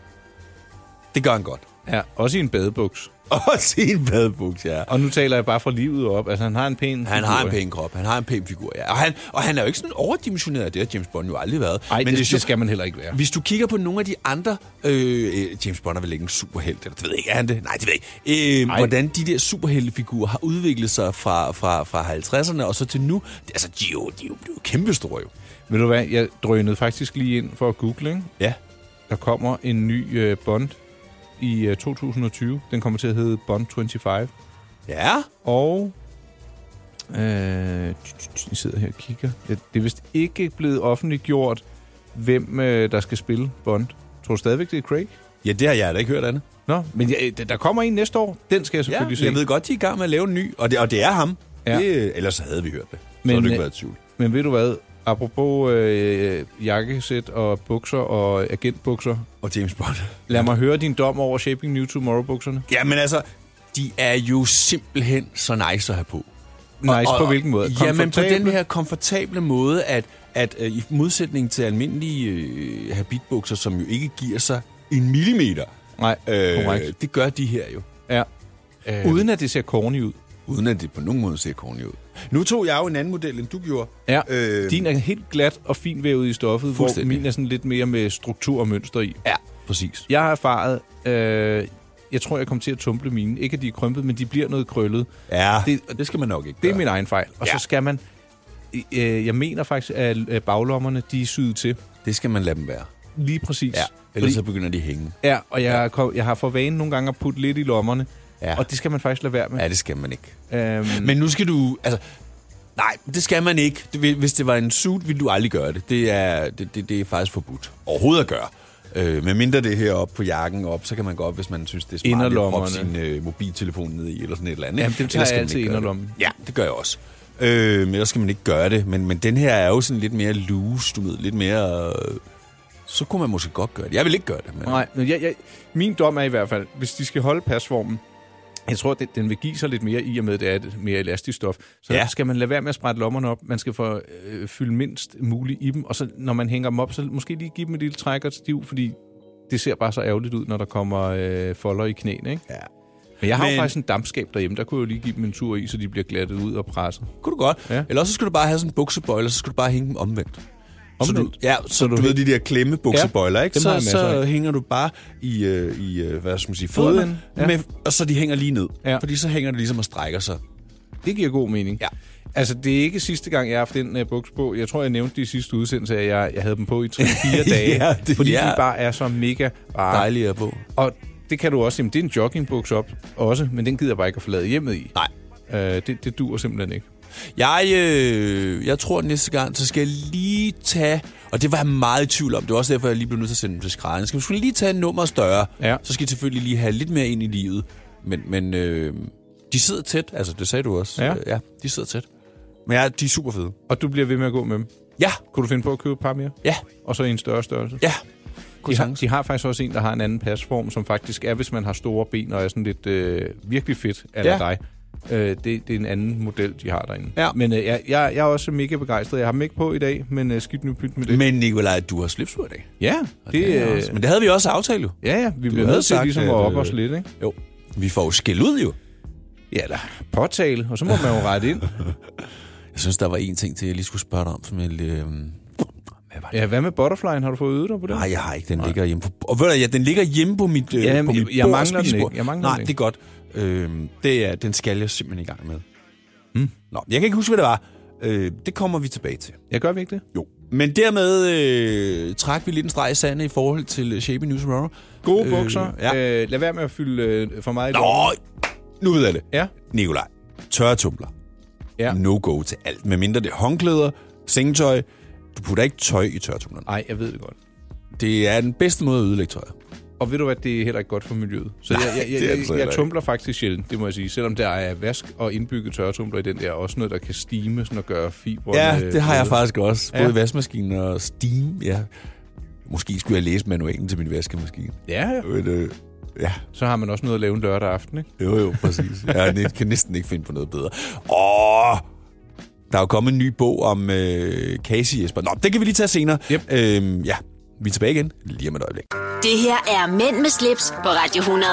[SPEAKER 2] det gør han godt.
[SPEAKER 3] Ja, også i en badebuks.
[SPEAKER 2] Og sin badebuks, ja.
[SPEAKER 3] Og nu taler jeg bare fra livet op. Altså, han har en pæn
[SPEAKER 2] Han
[SPEAKER 3] figur,
[SPEAKER 2] har en
[SPEAKER 3] ikke?
[SPEAKER 2] pæn krop, han har en pæn figur, ja. Og han, og han er jo ikke sådan overdimensioneret, det har James Bond jo aldrig været.
[SPEAKER 3] Ej,
[SPEAKER 2] Men
[SPEAKER 3] det,
[SPEAKER 2] hvis
[SPEAKER 3] det,
[SPEAKER 2] du-
[SPEAKER 3] det skal man heller ikke være.
[SPEAKER 2] Hvis du kigger på nogle af de andre... Øh, øh, James Bond er vel ikke en superhelt, eller det ved jeg ikke, er han det? Nej, det ved jeg ikke. Øh,
[SPEAKER 3] Nej.
[SPEAKER 2] hvordan de der superheltefigurer har udviklet sig fra, fra, fra 50'erne og så til nu. Det, altså, de er jo, de er jo blevet kæmpestore jo.
[SPEAKER 3] Ved du hvad, jeg drønede faktisk lige ind for at google, ikke?
[SPEAKER 2] Ja.
[SPEAKER 3] Der kommer en ny øh, Bond i øh, 2020. Den kommer til at hedde Bond 25.
[SPEAKER 2] Ja.
[SPEAKER 3] Og... Øh, jeg sidder her og kigger. Ja, Det er vist ikke blevet offentliggjort, hvem øh, der skal spille Bond. Tror du stadigvæk, det er Craig?
[SPEAKER 2] Ja, det har jeg da ikke hørt andet.
[SPEAKER 3] Nå, men jeg, der- der kommer en næste år. Den skal jeg
[SPEAKER 2] Ja,
[SPEAKER 3] selvfølgelig se.
[SPEAKER 2] jeg ved godt, de er i gang med at lave en ny, og det, og det er ham.
[SPEAKER 3] Ja.
[SPEAKER 2] Ja. Det, ellers havde vi hørt det. Så Men,
[SPEAKER 3] Men,
[SPEAKER 2] havde du
[SPEAKER 3] øh,
[SPEAKER 2] ikke været i tvivl.
[SPEAKER 3] Men ved du hvad? Apropos øh, jakkesæt og bukser og agentbukser.
[SPEAKER 2] Og James Bond.
[SPEAKER 3] Lad mig høre din dom over Shaping New Tomorrow-bukserne.
[SPEAKER 2] Jamen altså, de er jo simpelthen så nice at have på.
[SPEAKER 3] Nice Altså, på hvilken måde?
[SPEAKER 2] Jamen på den
[SPEAKER 3] Komfortable?
[SPEAKER 2] her komfortable måde, at, at øh, i modsætning til almindelige øh, habitbukser, som jo ikke giver sig en millimeter,
[SPEAKER 3] Nej, øh, korrekt.
[SPEAKER 2] øh, det gør de her jo.
[SPEAKER 3] Ja. Øh, Uden at det ser corny ud.
[SPEAKER 2] Uden at det på nogen måde ser corny ud. Nu tog jeg jo en anden model, end du gjorde.
[SPEAKER 3] Ja, øh,
[SPEAKER 2] Øh,
[SPEAKER 3] din er helt glat og fint vævet i stoffet, hvor
[SPEAKER 2] Fuldstændig.
[SPEAKER 3] min er sådan lidt mere med struktur og mønster i.
[SPEAKER 2] Ja, præcis.
[SPEAKER 3] Jeg har erfaret, øh, jeg tror, jeg kommer til at tumple mine. Ikke, at de er krympet, men de bliver noget krøllet.
[SPEAKER 2] Ja,
[SPEAKER 3] Det-
[SPEAKER 2] det, det skal man nok ikke
[SPEAKER 3] Det er
[SPEAKER 2] gøre.
[SPEAKER 3] min egen fejl. Og ja.
[SPEAKER 2] Ja.
[SPEAKER 3] så skal man... Øh, jeg mener faktisk, at øh, baglommerne, de er syet til.
[SPEAKER 2] Det skal man lade dem være.
[SPEAKER 3] Lige præcis.
[SPEAKER 2] Ja, ellers
[SPEAKER 3] Fordi,
[SPEAKER 2] så begynder de at hænge.
[SPEAKER 3] ja og jeg, kom, jeg har for vane nogle gange at putte lidt i lommerne. Ja.
[SPEAKER 2] Ja.
[SPEAKER 3] Og det skal man faktisk lade være med.
[SPEAKER 2] Ja, det skal man ikke.
[SPEAKER 3] Ja. Øhm,
[SPEAKER 2] Men nu skal du... Altså, nej, det skal man ikke. Det vil- Hvis det var en suit, ville du aldrig gøre det. Det er, det, det, det er faktisk forbudt overhovedet at gøre. Øh, med mindre det her op på jakken op, så kan man godt, hvis man synes, det er smart, lige at proppe sin
[SPEAKER 3] Inderlommerne.
[SPEAKER 2] øh, mobiltelefon ned i, eller sådan et eller andet.
[SPEAKER 3] Jamen,
[SPEAKER 2] ikke?
[SPEAKER 3] dem tager
[SPEAKER 2] Ellers skal
[SPEAKER 3] jeg
[SPEAKER 2] man
[SPEAKER 3] altid
[SPEAKER 2] ikke gøre det.
[SPEAKER 3] inderlommen.
[SPEAKER 2] Ja, det gør jeg også. Øh, men ellers skal man ikke gøre det. Men, men den her er jo sådan lidt mere loose, du ved, lidt mere... Øh, så kunne man måske godt gøre det. Jeg vil ikke gøre det, men...
[SPEAKER 3] Nej, men jeg, jeg, min dom er i hvert fald, hvis de skal holde pasformen, jeg tror, den, den vil give sig lidt mere i og med, at det er et mere elastisk stof. Så ja.
[SPEAKER 2] Ja.
[SPEAKER 3] skal man lade være med at sprætte lommerne op. Man skal få øh, fylde mindst muligt i dem. Og så når man hænger dem op, så måske lige give dem et lille træk og et stiv, fordi det ser bare så ærgerligt ud, når der kommer øh, folder i knæene. Ikke?
[SPEAKER 2] Ja.
[SPEAKER 3] Men jeg har men... jo
[SPEAKER 2] Men-
[SPEAKER 3] faktisk en dampskab derhjemme. Der kunne jeg jo lige give dem en tur i, så de bliver glattet ud og presset.
[SPEAKER 2] Kunne du godt.
[SPEAKER 3] Ja.
[SPEAKER 2] Ja. Eller også så skulle du bare have sådan en buksebøjle, og så skulle du bare hænge dem omvendt.
[SPEAKER 3] Omvendt?
[SPEAKER 2] Så du, ja, så, så du, du ved de der klemme buksebøjler,
[SPEAKER 3] Ja,
[SPEAKER 2] ikke?
[SPEAKER 3] dem har
[SPEAKER 2] Så,
[SPEAKER 3] jeg masser
[SPEAKER 2] så
[SPEAKER 3] af.
[SPEAKER 2] hænger du bare i, øh, i øh, hvad skal man sige,
[SPEAKER 3] Fodenden,
[SPEAKER 2] fødderne,
[SPEAKER 3] ja.
[SPEAKER 2] ja. med, og så de hænger lige ned.
[SPEAKER 3] Ja.
[SPEAKER 2] Ja. Fordi så hænger det ligesom og strækker sig.
[SPEAKER 3] Det giver god mening.
[SPEAKER 2] Ja.
[SPEAKER 3] Altså, det er ikke sidste gang, jeg har haft den uh, buks på. Jeg tror, jeg nævnte det i sidste udsendelse, at jeg, jeg havde dem på i 3-4 dage.
[SPEAKER 2] Ja, det-
[SPEAKER 3] fordi
[SPEAKER 2] ja.
[SPEAKER 3] de bare er så mega bare.
[SPEAKER 2] Dejligt at på.
[SPEAKER 3] Og det kan du også. Jamen, det er en joggingbuks op også, men den gider jeg bare ikke at forlade hjemmet i.
[SPEAKER 2] Nej.
[SPEAKER 3] Øh, det, det dur simpelthen ikke.
[SPEAKER 2] Jeg, øh, jeg tror næste gang, så skal jeg lige tage... Og det var jeg meget i tvivl om. Det var også derfor, jeg lige blev nødt til at sende dem til skrædderen. Skal vi skulle lige tage en nummer større?
[SPEAKER 3] Ja.
[SPEAKER 2] Så skal jeg selvfølgelig lige have lidt mere ind i livet. Men, men øh, de sidder tæt. Altså, det sagde du også.
[SPEAKER 3] Ja.
[SPEAKER 2] Øh, ja de sidder tæt. Men ja, de er super fede.
[SPEAKER 3] Og du bliver ved med at gå med dem.
[SPEAKER 2] Ja,
[SPEAKER 3] Kunne du finde på at købe et par mere?
[SPEAKER 2] ja,
[SPEAKER 3] Og så i en større størrelse?
[SPEAKER 2] ja.
[SPEAKER 3] De har,
[SPEAKER 2] sagtens.
[SPEAKER 3] de har faktisk også en, der har en anden pasform, som faktisk er, hvis man har store ben og er sådan lidt øh, virkelig fedt af
[SPEAKER 2] Ja.
[SPEAKER 3] ja. dig. Øh, det, det er en anden model, de har derinde.
[SPEAKER 2] Ja.
[SPEAKER 3] Men øh, jeg, jeg, jeg er også mega begejstret. Jeg har dem ikke på i dag, men øh, skidt nu pyt med det.
[SPEAKER 2] Men Nikolaj, du har slipsur i dag.
[SPEAKER 3] ja, det,
[SPEAKER 2] Ja,
[SPEAKER 3] øh,
[SPEAKER 2] også. Men det havde vi også aftalt jo.
[SPEAKER 3] ja, ja, vi bliver
[SPEAKER 2] havde
[SPEAKER 3] nødt til
[SPEAKER 2] sagt,
[SPEAKER 3] ligesom at
[SPEAKER 2] at,
[SPEAKER 3] op
[SPEAKER 2] øh,
[SPEAKER 3] os lidt, ikke?
[SPEAKER 2] Jo. Vi får jo skæld ud jo.
[SPEAKER 3] Ja, da. Påtale, og så må man jo rette ind.
[SPEAKER 2] Jeg synes, der var en ting til, jeg lige skulle spørge dig om, som jeg... Øh, hvad var det?
[SPEAKER 3] Ja, hvad med butterflyen? Har du fået øget dig på det?
[SPEAKER 2] Nej, jeg har ikke. Den ligger hjemme på... Og ved du, ja, den ligger hjemme på mit, øh,
[SPEAKER 3] Jamen,
[SPEAKER 2] på mit
[SPEAKER 3] jeg- jeg
[SPEAKER 2] bord,
[SPEAKER 3] mangler den
[SPEAKER 2] spisebord.
[SPEAKER 3] ikke. Jeg mangler
[SPEAKER 2] Nej,
[SPEAKER 3] den ikke.
[SPEAKER 2] det er godt. Øh, det er, den skal jeg simpelthen i gang med.
[SPEAKER 3] Hmm.
[SPEAKER 2] Mm. Nå, jeg kan ikke huske, hvad det var. Øh, det kommer vi tilbage til.
[SPEAKER 3] Jeg gør vi ikke det?
[SPEAKER 2] Jo. Men dermed øh, trak vi lidt en streg i sandet i forhold til øh, Shapey News Tomorrow.
[SPEAKER 3] Gode bukser.
[SPEAKER 2] Øh, ja.
[SPEAKER 3] Øh, lad være med at fylde øh, for meget i lommen.
[SPEAKER 2] Nå, nu ved jeg det.
[SPEAKER 3] Ja.
[SPEAKER 2] Nikolaj, tørre tumbler.
[SPEAKER 3] Ja.
[SPEAKER 2] No-go til alt, medmindre det er håndklæder, sengetøj. Du putter ikke tøj i tørretumbleren.
[SPEAKER 3] Nej, jeg ved det godt.
[SPEAKER 2] Det er den bedste måde at ødelægge tøjet.
[SPEAKER 3] Og ved du hvad, det er heller ikke godt for miljøet. Så
[SPEAKER 2] Nej,
[SPEAKER 3] jeg, jeg,
[SPEAKER 2] det er det
[SPEAKER 3] jeg,
[SPEAKER 2] altså
[SPEAKER 3] jeg,
[SPEAKER 2] heller
[SPEAKER 3] jeg
[SPEAKER 2] ikke.
[SPEAKER 3] tumbler faktisk sjældent, det må jeg sige. Selvom der er vask og indbygget tørretumbler i den der, også noget, der kan stime sådan og gøre øh, fibrene.
[SPEAKER 2] Ja, det har jeg faktisk også. Både
[SPEAKER 3] Ja.
[SPEAKER 2] ja. vaskemaskinen og steam. Ja. Måske skulle jeg læse manualen til min vaskemaskine.
[SPEAKER 3] Ja, ja.
[SPEAKER 2] Men, øh, ja,
[SPEAKER 3] Så har man også noget at lave en lørdag aften, ikke?
[SPEAKER 2] jo jo, præcis. Jeg næ- kan næsten ikke finde på noget bedre. Åh, der er jo kommet en ny bog om øh, Casey Jesper. Nå, det kan vi lige tage senere.
[SPEAKER 3] Yep.
[SPEAKER 2] Øhm, ja, vi er tilbage igen lige om et øjeblik.
[SPEAKER 1] Det her er Mænd med slips på Radio 100.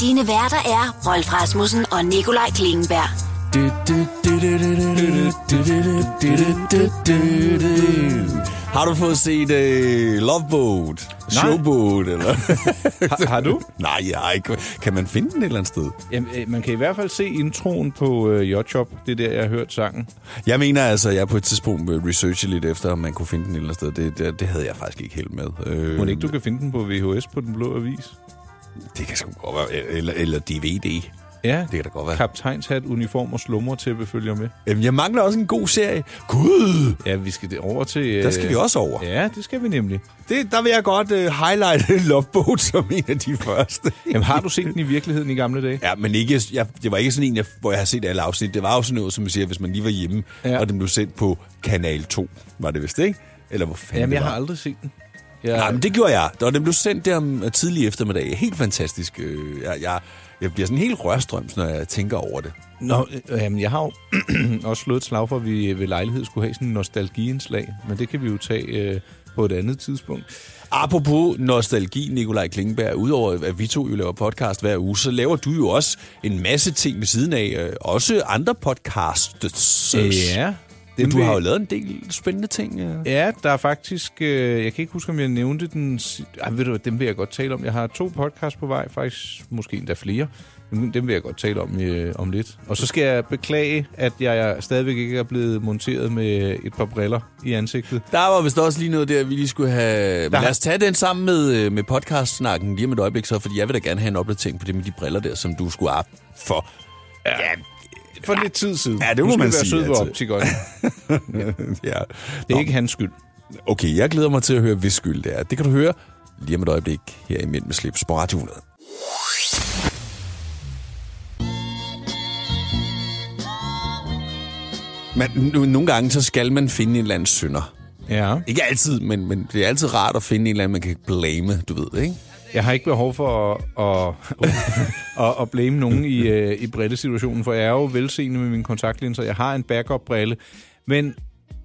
[SPEAKER 1] Dine værter er Rolf Rasmussen og Nikolaj Klingenberg.
[SPEAKER 2] Har du fået set øh, Love Boat? Showboat? Eller?
[SPEAKER 3] Har, har du?
[SPEAKER 2] Nej, jeg har ikke. Kan man finde den et eller andet sted?
[SPEAKER 3] Jamen, øh, man kan i hvert fald se introen på øh, Jotjob. Det er der, jeg har hørt sangen.
[SPEAKER 2] Jeg mener altså, jeg på et tidspunkt øh, researchede lidt efter, om man kunne finde den et eller andet sted. Det, det, det havde jeg faktisk ikke helt med. Øh,
[SPEAKER 3] Må ikke, du kan finde den på VHS på Den Blå Avis?
[SPEAKER 2] Det kan sgu godt være. Eller, eller DVD.
[SPEAKER 3] Ja,
[SPEAKER 2] Det kan da godt være.
[SPEAKER 3] Kaptajnshat, uniform og slumretæppe følger med.
[SPEAKER 2] Jamen, jeg mangler også en god serie. Gud!
[SPEAKER 3] Ja, vi skal det over til... Øh,
[SPEAKER 2] Der skal vi også over.
[SPEAKER 3] Ja, det skal vi nemlig.
[SPEAKER 2] Det, der vil jeg godt øh, highlighte Love Boat som en af de første.
[SPEAKER 3] Jamen, har du set den i virkeligheden i gamle dage?
[SPEAKER 2] Ja, men ikke, jeg, det var ikke sådan en, jeg, hvor jeg har set alle afsnit. Det var jo sådan noget, som man siger, hvis man lige var hjemme, ja.
[SPEAKER 3] Ja.
[SPEAKER 2] og den blev sendt på Kanal 2, var det vist, ikke? Eller hvor fanden
[SPEAKER 3] Jamen,
[SPEAKER 2] det
[SPEAKER 3] jeg
[SPEAKER 2] var.
[SPEAKER 3] har aldrig set den. Jeg,
[SPEAKER 2] Nej, men det gjorde jeg. Og den blev sendt der om øh, tidlig eftermiddag. Helt fantastisk. Øh, Jeg, jeg, jeg bliver sådan helt rørstrøms, når jeg tænker over det.
[SPEAKER 3] Nå, øh, jamen, jeg har jo også slået et slag for, at vi ved lejlighed skulle have sådan en nostalgiindslag, men det kan vi jo tage øh, på et andet tidspunkt.
[SPEAKER 2] Apropos nostalgi, Nikolaj Klingenberg, udover at vi to jo laver podcast hver uge, så laver du jo også en masse ting ved siden af. øh, Også andre podcasts.
[SPEAKER 3] dem
[SPEAKER 2] Du
[SPEAKER 3] vil-
[SPEAKER 2] har jo lavet en del spændende ting. øh.
[SPEAKER 3] Ja, der er faktisk... Øh, jeg kan ikke huske, om jeg nævnte den... si- Ej, ved du hvad, dem vil jeg godt tale om. Jeg har to podcasts på vej, faktisk måske endda flere. Dem dem vil jeg godt tale om øh, om lidt. Og så skal jeg beklage, at jeg stadigvæk ikke er blevet monteret med et par briller i ansigtet.
[SPEAKER 2] Der var vist også lige noget der, vi lige skulle have... Men
[SPEAKER 3] Der-
[SPEAKER 2] lad os tage den sammen med, øh, med podcast-snakken lige om et øjeblik så, fordi jeg vil da gerne have en opdatering på det med de briller der, som du skulle have for. Ja,
[SPEAKER 3] For lidt tid siden.
[SPEAKER 2] Ja, det må
[SPEAKER 3] nu skal
[SPEAKER 2] man
[SPEAKER 3] vi være
[SPEAKER 2] sige,
[SPEAKER 3] sød ved
[SPEAKER 2] altså.
[SPEAKER 3] optikeren.
[SPEAKER 2] ja.
[SPEAKER 3] Det er ikke hans skyld.
[SPEAKER 2] Okay, jeg glæder mig til at høre, hvis skyld det er. Det kan du høre lige om et øjeblik her i Mænd med slips på Radio 100. Men nu- nogle gange, så skal man finde en eller anden synder.
[SPEAKER 3] Ja.
[SPEAKER 2] Ikke altid, men, men det er altid rart at finde en eller anden, man kan blame, du ved, ikke?
[SPEAKER 3] Jeg har ikke behov for at, at, at, at blame nogen i, øh, i brillesituationen, for jeg er jo velseende med mine kontaktlinser. Jeg har en backup-brille. Men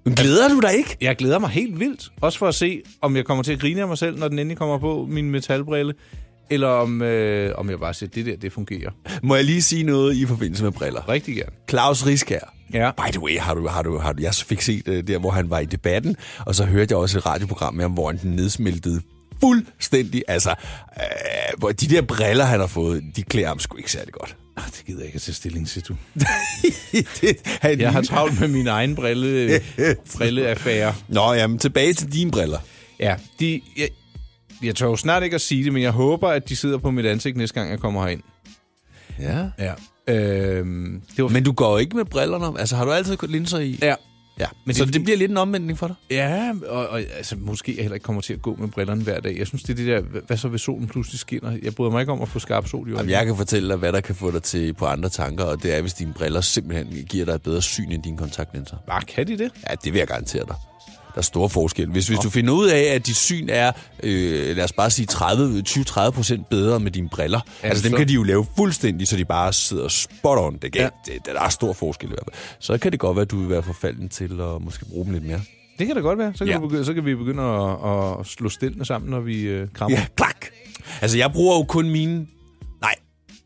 [SPEAKER 2] Men glæder du dig ikke?
[SPEAKER 3] jeg glæder mig helt vildt. Også for at se, om jeg kommer til at grine af mig selv, når den endelig kommer på, min metalbrille. Eller om, øh, om jeg bare siger, det der, det fungerer.
[SPEAKER 2] Må jeg lige sige noget i forbindelse med briller?
[SPEAKER 3] Rigtig gerne.
[SPEAKER 2] Claus Riskær.
[SPEAKER 3] Ja.
[SPEAKER 2] By the way, har du, har du, har du, jeg fik set uh, der, hvor han var i debatten, og så hørte jeg også et radioprogram med ham, hvor han nedsmeltede fuldstændig. Altså, øh, hvor de der briller, han har fået, de klæder ham sgu ikke særlig godt.
[SPEAKER 3] Ah, det gider jeg ikke at tage stilling til, du.
[SPEAKER 4] det, han
[SPEAKER 3] Jeg har travlt med min egen brille, øh, brilleaffære.
[SPEAKER 2] Nå, jamen tilbage til dine briller.
[SPEAKER 3] Ja, de, jeg, jeg tør jo snart ikke at sige det, men jeg håber, at de sidder på mit ansigt næste gang, jeg kommer herind.
[SPEAKER 2] Ja.
[SPEAKER 3] Ja. Øhm, det var
[SPEAKER 2] Men du går jo ikke med brillerne om. Altså, har du altid kun linser i?
[SPEAKER 3] Ja.
[SPEAKER 2] ja. Men
[SPEAKER 3] Men
[SPEAKER 2] så
[SPEAKER 3] det er
[SPEAKER 2] det,
[SPEAKER 3] fordi-
[SPEAKER 2] bliver lidt en omvendning for dig?
[SPEAKER 3] Ja, og, og altså, måske jeg heller ikke kommer til at gå med brillerne hver dag. Jeg synes, det er det der, hva- hvad så hvis solen pludselig skinner? Jeg bryder mig ikke om at få skarp sol i øjnene.
[SPEAKER 2] Jamen, jeg kan fortælle dig, hvad der kan få dig til på andre tanker, og det er, hvis dine briller simpelthen giver dig et bedre syn end dine kontaktlinser.
[SPEAKER 3] Bare kan de det?
[SPEAKER 2] Ja, det vil jeg garantere dig. Der er store forskel. Hvis, hvis du finder ud af, at dit syn er, øh, lad os bare sige, 30, 20-30 procent bedre med dine briller.
[SPEAKER 3] Ja,
[SPEAKER 2] altså, dem
[SPEAKER 3] så-
[SPEAKER 2] kan de jo lave fuldstændig, så de bare sidder spot on. Det kan, ja. det, der er stor forskel i hvert fald. Så kan det godt være, at du vil være forfalden til at måske bruge dem lidt mere.
[SPEAKER 3] Det kan da godt være. Så kan,
[SPEAKER 2] Ja.
[SPEAKER 3] ja. vi, begynde, så kan vi begynde at, at slå stillene sammen, når vi øh, krammer.
[SPEAKER 2] Ja, plak! Altså, jeg bruger jo kun mine... Nej,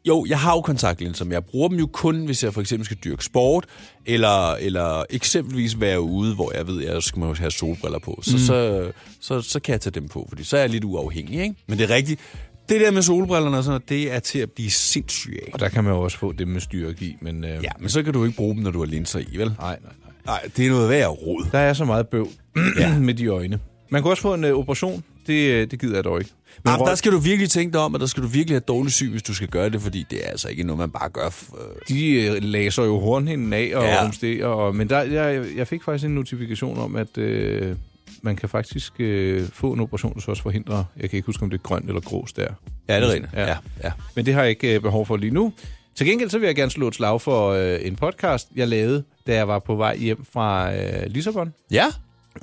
[SPEAKER 2] jo, jeg har jo kontaktlinser, men jeg bruger dem jo kun, hvis jeg for eksempel skal dyrke sport, eller, eller eksempelvis være ude, hvor jeg ved, at jeg skal må have solbriller på. Så, mm. så, så, så kan jeg tage dem på, fordi så er jeg lidt uafhængig, ikke? Men det er rigtigt. Det der med solbrillerne og sådan noget, det er til at blive sindssyg af.
[SPEAKER 3] Og der kan man jo også få det med styrke i, men... Øh,
[SPEAKER 2] Ja, men så kan du ikke bruge dem, når du har linser i, vel?
[SPEAKER 3] Nej, nej, nej.
[SPEAKER 2] Nej, det er noget værd rod.
[SPEAKER 3] Der er så meget bøv med de øjne. Man kunne også få en øh, operation. Det, øh, det gider jeg dog ikke.
[SPEAKER 2] Ah,
[SPEAKER 3] Men
[SPEAKER 2] Men
[SPEAKER 3] Rolf,
[SPEAKER 2] der skal du virkelig tænke dig om, og der skal du virkelig have dårlig syn, hvis du skal gøre det, fordi det er altså ikke noget, man bare gør. øh,
[SPEAKER 3] de øh, laser jo hornhinden af og
[SPEAKER 2] Ja.
[SPEAKER 3] ja. rumsterer. Og, men der, jeg, jeg fik faktisk en notifikation om, at øh, man kan faktisk øh, få en operation, der så også forhindrer... Jeg kan ikke huske, om det er grønt eller grås der.
[SPEAKER 2] Ja, det er rigtigt.
[SPEAKER 3] Ja.
[SPEAKER 2] Ja. ja.
[SPEAKER 3] Men det har jeg ikke øh, behov for lige nu. Til gengæld så vil jeg gerne slå et slag for øh, en podcast, jeg lavede, da jeg var på vej hjem fra øh, Lissabon.
[SPEAKER 2] Ja?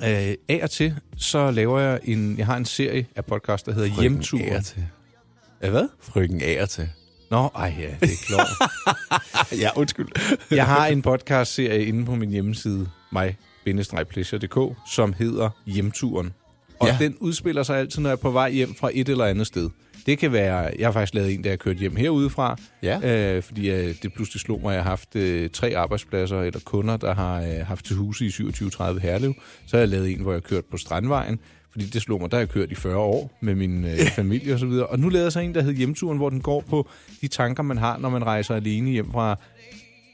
[SPEAKER 3] Øh, af og til, så laver jeg en... Jeg har en serie af podcast, der hedder Hjemtur.
[SPEAKER 2] Frøken til.
[SPEAKER 3] Ja, hvad?
[SPEAKER 2] Frygten ære til.
[SPEAKER 3] Nå, ej ja, det er klart.
[SPEAKER 2] Ah, ja, undskyld.
[SPEAKER 3] Jeg har en podcastserie inde på min hjemmeside, mig pleasuredk som hedder Hjemturen. Og
[SPEAKER 2] Ja.
[SPEAKER 3] ja. den udspiller sig altid, når jeg er på vej hjem fra et eller andet sted. Det kan være, jeg har faktisk lavet en, da jeg kørte hjem herudefra,
[SPEAKER 2] Ja.
[SPEAKER 3] øh, fordi øh, det pludselig slog mig, at jeg har haft øh, tre arbejdspladser eller kunder, der har øh, haft til huse i 2730 Herlev. Så har jeg lavet en, hvor jeg kørte på Strandvejen, fordi det slog mig, der har jeg kørt i 40 år med min øh, familie osv. Og, og nu lavede jeg så en, der hed Hjemturen, hvor den går på de tanker, man har, når man rejser alene hjem fra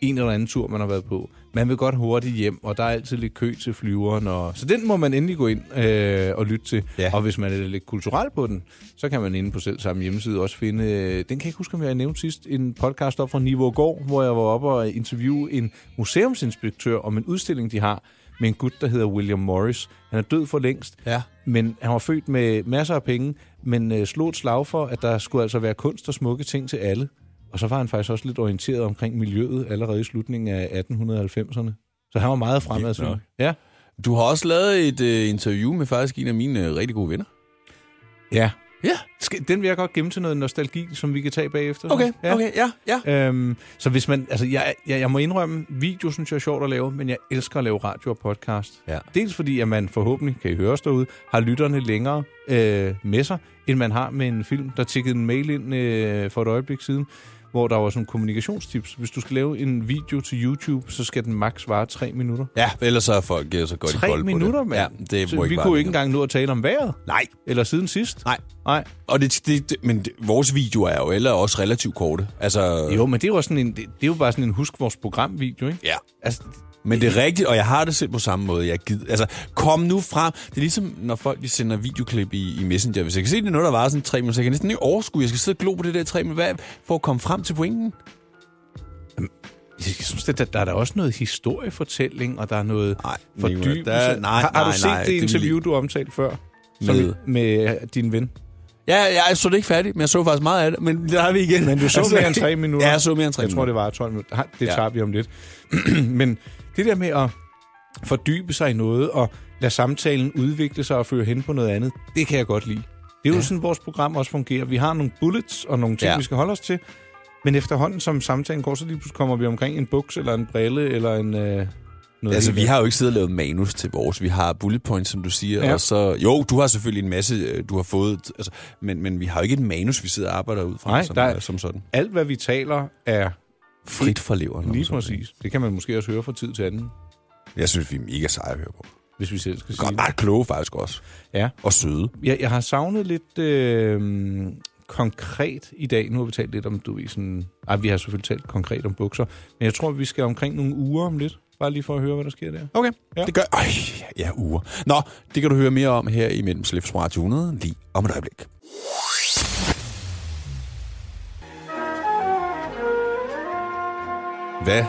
[SPEAKER 3] en eller anden tur, man har været på. Man vil godt hurtigt hjem, og der er altid lidt kø til flyveren. Og... Så den må man endelig gå ind øh, og lytte til.
[SPEAKER 2] Ja.
[SPEAKER 3] Og hvis man er lidt kulturel på den, så kan man inde på selv samme hjemmeside også finde, øh, den kan jeg ikke huske, om jeg nævnte sidst, en podcast op fra Niveau Gård, hvor jeg var oppe og interviewe en museumsinspektør om en udstilling, de har med en gut, der hedder William Morris. Han er død for længst,
[SPEAKER 2] Ja.
[SPEAKER 3] men han var født med masser af penge, men øh, slog et slag for, at der skulle altså være kunst og smukke ting til alle. Og så var han faktisk også lidt orienteret omkring miljøet allerede i slutningen af 1890'erne. Så han var meget
[SPEAKER 2] nok.
[SPEAKER 3] fremad. Ja.
[SPEAKER 2] Du har også lavet et øh, interview med faktisk en af mine øh, rigtig gode venner.
[SPEAKER 3] Ja.
[SPEAKER 2] Ja.
[SPEAKER 3] Skal- Den vil jeg godt gemme til noget nostalgi, som vi kan tage bagefter.
[SPEAKER 2] Okay,
[SPEAKER 3] ja.
[SPEAKER 2] okay, ja, ja.
[SPEAKER 3] Øhm, så hvis man, altså jeg, jeg, jeg må indrømme, video synes jeg er sjovt at lave, men jeg elsker at lave radio og podcast.
[SPEAKER 2] Ja.
[SPEAKER 3] Dels fordi, at man forhåbentlig, kan I høre os derude, har lytterne længere øh, med sig, end man har med en film, der tikkede en mail ind øh, for et øjeblik siden, hvor der var sådan kommunikationstips. Hvis du skal lave en video til YouTube, så skal den maks vare tre minutter.
[SPEAKER 2] Ja, ellers så er folk givet så godt i
[SPEAKER 3] Tre
[SPEAKER 2] kold
[SPEAKER 3] minutter,
[SPEAKER 2] på det.
[SPEAKER 3] mand!
[SPEAKER 2] Ja, det
[SPEAKER 3] så
[SPEAKER 2] må
[SPEAKER 3] vi
[SPEAKER 2] ikke være
[SPEAKER 3] kunne ikke
[SPEAKER 2] længere.
[SPEAKER 3] engang nå at tale om vejret,
[SPEAKER 2] Nej,
[SPEAKER 3] eller siden sidst.
[SPEAKER 2] nej.
[SPEAKER 3] Nej.
[SPEAKER 2] Og det, det, det, men det, vores videoer er jo eller også relativt korte. Altså,
[SPEAKER 3] Jo, men det er jo, også sådan en, det, det er jo bare sådan en husk vores programvideo, ikke?
[SPEAKER 2] ja.
[SPEAKER 3] Altså,
[SPEAKER 2] Men det er rigtigt, og jeg har det selv på samme måde. Jeg gider, altså, kom nu frem. Det er ligesom, når folk de sender videoklip i, i Messenger. Hvis jeg kan se, det er noget, der varer sådan tre minutter, så jeg kan næsten ikke overskue. Jeg skal sidde og glo på det der tre minutter Hvad- for at komme frem til pointen.
[SPEAKER 3] Jeg synes, der, der er da også noget historiefortælling, og der er noget
[SPEAKER 2] Nej,
[SPEAKER 3] fordybelse.
[SPEAKER 2] Nicolaj, der- nej,
[SPEAKER 3] har, har
[SPEAKER 2] nej,
[SPEAKER 3] du set
[SPEAKER 2] nej, det
[SPEAKER 3] det
[SPEAKER 2] vil
[SPEAKER 3] interview, du omtalte før? Som-
[SPEAKER 2] Med?
[SPEAKER 3] med din ven?
[SPEAKER 2] Ja, jeg så det ikke færdigt, men jeg så faktisk meget af det. Men der er vi igen. Altså,
[SPEAKER 3] Men du så mere end tre minutter.
[SPEAKER 2] Ja, jeg så mere end tre
[SPEAKER 3] Jeg tror,
[SPEAKER 2] minutter.
[SPEAKER 3] det var 12 minutter. Ah, Det
[SPEAKER 2] Ja.
[SPEAKER 3] ja. tager vi om lidt. Men det der med at fordybe sig i noget, og lade samtalen udvikle sig og føre hen på noget andet, det kan jeg godt lide. Det er jo ja. sådan, vores program også fungerer. Vi har nogle bullets og nogle ting,
[SPEAKER 2] Ja.
[SPEAKER 3] ja. vi skal holde os til. Men efterhånden, som samtalen går, så lige pludselig kommer vi omkring en buks, eller en brille, eller en... Øh, noget
[SPEAKER 2] Altså,
[SPEAKER 3] helt
[SPEAKER 2] vi har jo ikke siddet og lavet manus til vores. Vi har bullet points, som du siger. Ja.
[SPEAKER 3] Ja.
[SPEAKER 2] Og så, jo, du har selvfølgelig en masse, øh, du har fået. Altså, men, men vi har jo ikke et manus, vi sidder og arbejder ud fra
[SPEAKER 3] Nej,
[SPEAKER 2] som,
[SPEAKER 3] der er-
[SPEAKER 2] er, som sådan.
[SPEAKER 3] alt, hvad vi taler, er
[SPEAKER 2] Frit for leveren. om
[SPEAKER 3] lige
[SPEAKER 2] sådan.
[SPEAKER 3] præcis. Det kan man måske også høre fra tid til anden,
[SPEAKER 2] Jeg synes, vi er mega seje at høre på.
[SPEAKER 3] hvis vi selv skal sige
[SPEAKER 2] Godt,
[SPEAKER 3] det.
[SPEAKER 2] meget kloge faktisk også.
[SPEAKER 3] Ja.
[SPEAKER 2] Og søde.
[SPEAKER 3] Jeg, jeg har savnet lidt øh, konkret i dag, nu har vi talt lidt om, du ved, sådan... Ej, vi har selvfølgelig talt konkret om bukser, men jeg tror, vi skal omkring nogle uger om lidt, bare lige for at høre, hvad der sker der.
[SPEAKER 2] Okay,
[SPEAKER 3] Ja.
[SPEAKER 2] ja. det gør... Øj, ja, uger. Nå, det kan du høre mere om her i Mellem Slips på Radio 100 lige om et øjeblik. Hvad?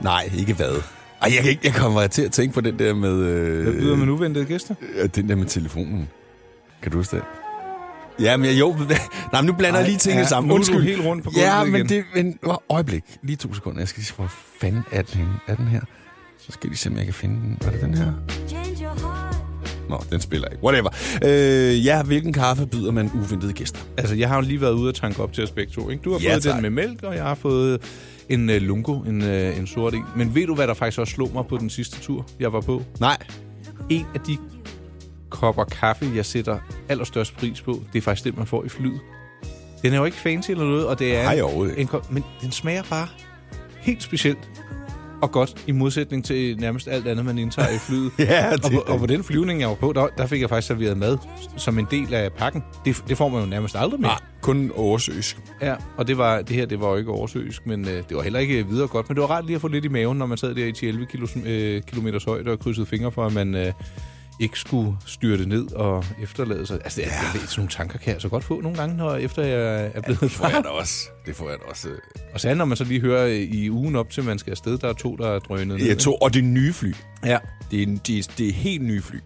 [SPEAKER 2] Nej, ikke hvad. Ej, jeg, kan ikke, jeg kommer til at tænke på den der med... Øh,
[SPEAKER 3] Hvad byder man uventede gæster?
[SPEAKER 2] Ja, den der med telefonen. Kan du huske det? Ja, men jeg, jo... Nej, men nu blander jeg
[SPEAKER 3] Ej,
[SPEAKER 2] lige tingene
[SPEAKER 3] ja,
[SPEAKER 2] sammen.
[SPEAKER 3] nu er du
[SPEAKER 2] Undskyld.
[SPEAKER 3] helt rundt på gulvet
[SPEAKER 2] Ja,
[SPEAKER 3] igen.
[SPEAKER 2] men det... Men, åh, øjeblik. Lige to sekunder. Jeg skal lige se, hvor fanden er den, henne? er den her? Så skal jeg lige se, om jeg kan finde den. Var det den her? Nå, den spiller ikke. Whatever. Øh, ja, hvilken kaffe byder man uventede gæster?
[SPEAKER 3] Altså, jeg har jo lige været ude og tanke op til Aspekto, ikke? Du har
[SPEAKER 2] Ja,
[SPEAKER 3] fået
[SPEAKER 2] tak.
[SPEAKER 3] den med mælk, og jeg har fået en øh, lungo, en, øh, en sort en. Men ved du, hvad der faktisk også slog mig på den sidste tur, jeg var på?
[SPEAKER 2] Nej.
[SPEAKER 3] En af de kopper kaffe, jeg sætter allerstørst pris på, det er faktisk det, man får i flyet. Den er jo ikke fancy eller noget, og det er
[SPEAKER 2] Nej, overhovedet ikke.
[SPEAKER 3] en kop, men den smager bare helt specielt og godt, i modsætning til nærmest alt andet, man indtager i flyet.
[SPEAKER 2] Ja,
[SPEAKER 3] og,
[SPEAKER 2] det-
[SPEAKER 3] på, og på den flyvning, jeg var på, der, der fik jeg faktisk serveret mad som en del af pakken. Det, det får man jo nærmest aldrig med.
[SPEAKER 2] Nej, kun oversøsk.
[SPEAKER 3] Ja, og det, var, det her det var jo ikke oversøisk, men øh, det var heller ikke videre godt. Men det var rart lige at få lidt i maven, når man sad der i 11 kilo, øh, kilometers højde og krydsede fingre for, at man øh, ikke skulle styrte ned og efterlade sig. Altså, det er, jeg ved, sådan nogle tanker kan jeg så godt få nogle gange, når efter jeg er blevet
[SPEAKER 2] Det får
[SPEAKER 3] far.
[SPEAKER 2] jeg da også. Det får jeg da også.
[SPEAKER 3] Og så når man så lige hører øh, i ugen op til, man skal afsted, der er to, der er drønet ned.
[SPEAKER 2] Jeg tog, og det er nye fly.
[SPEAKER 3] ikke? Ja,
[SPEAKER 2] Det er, det, er- det er helt nye fly.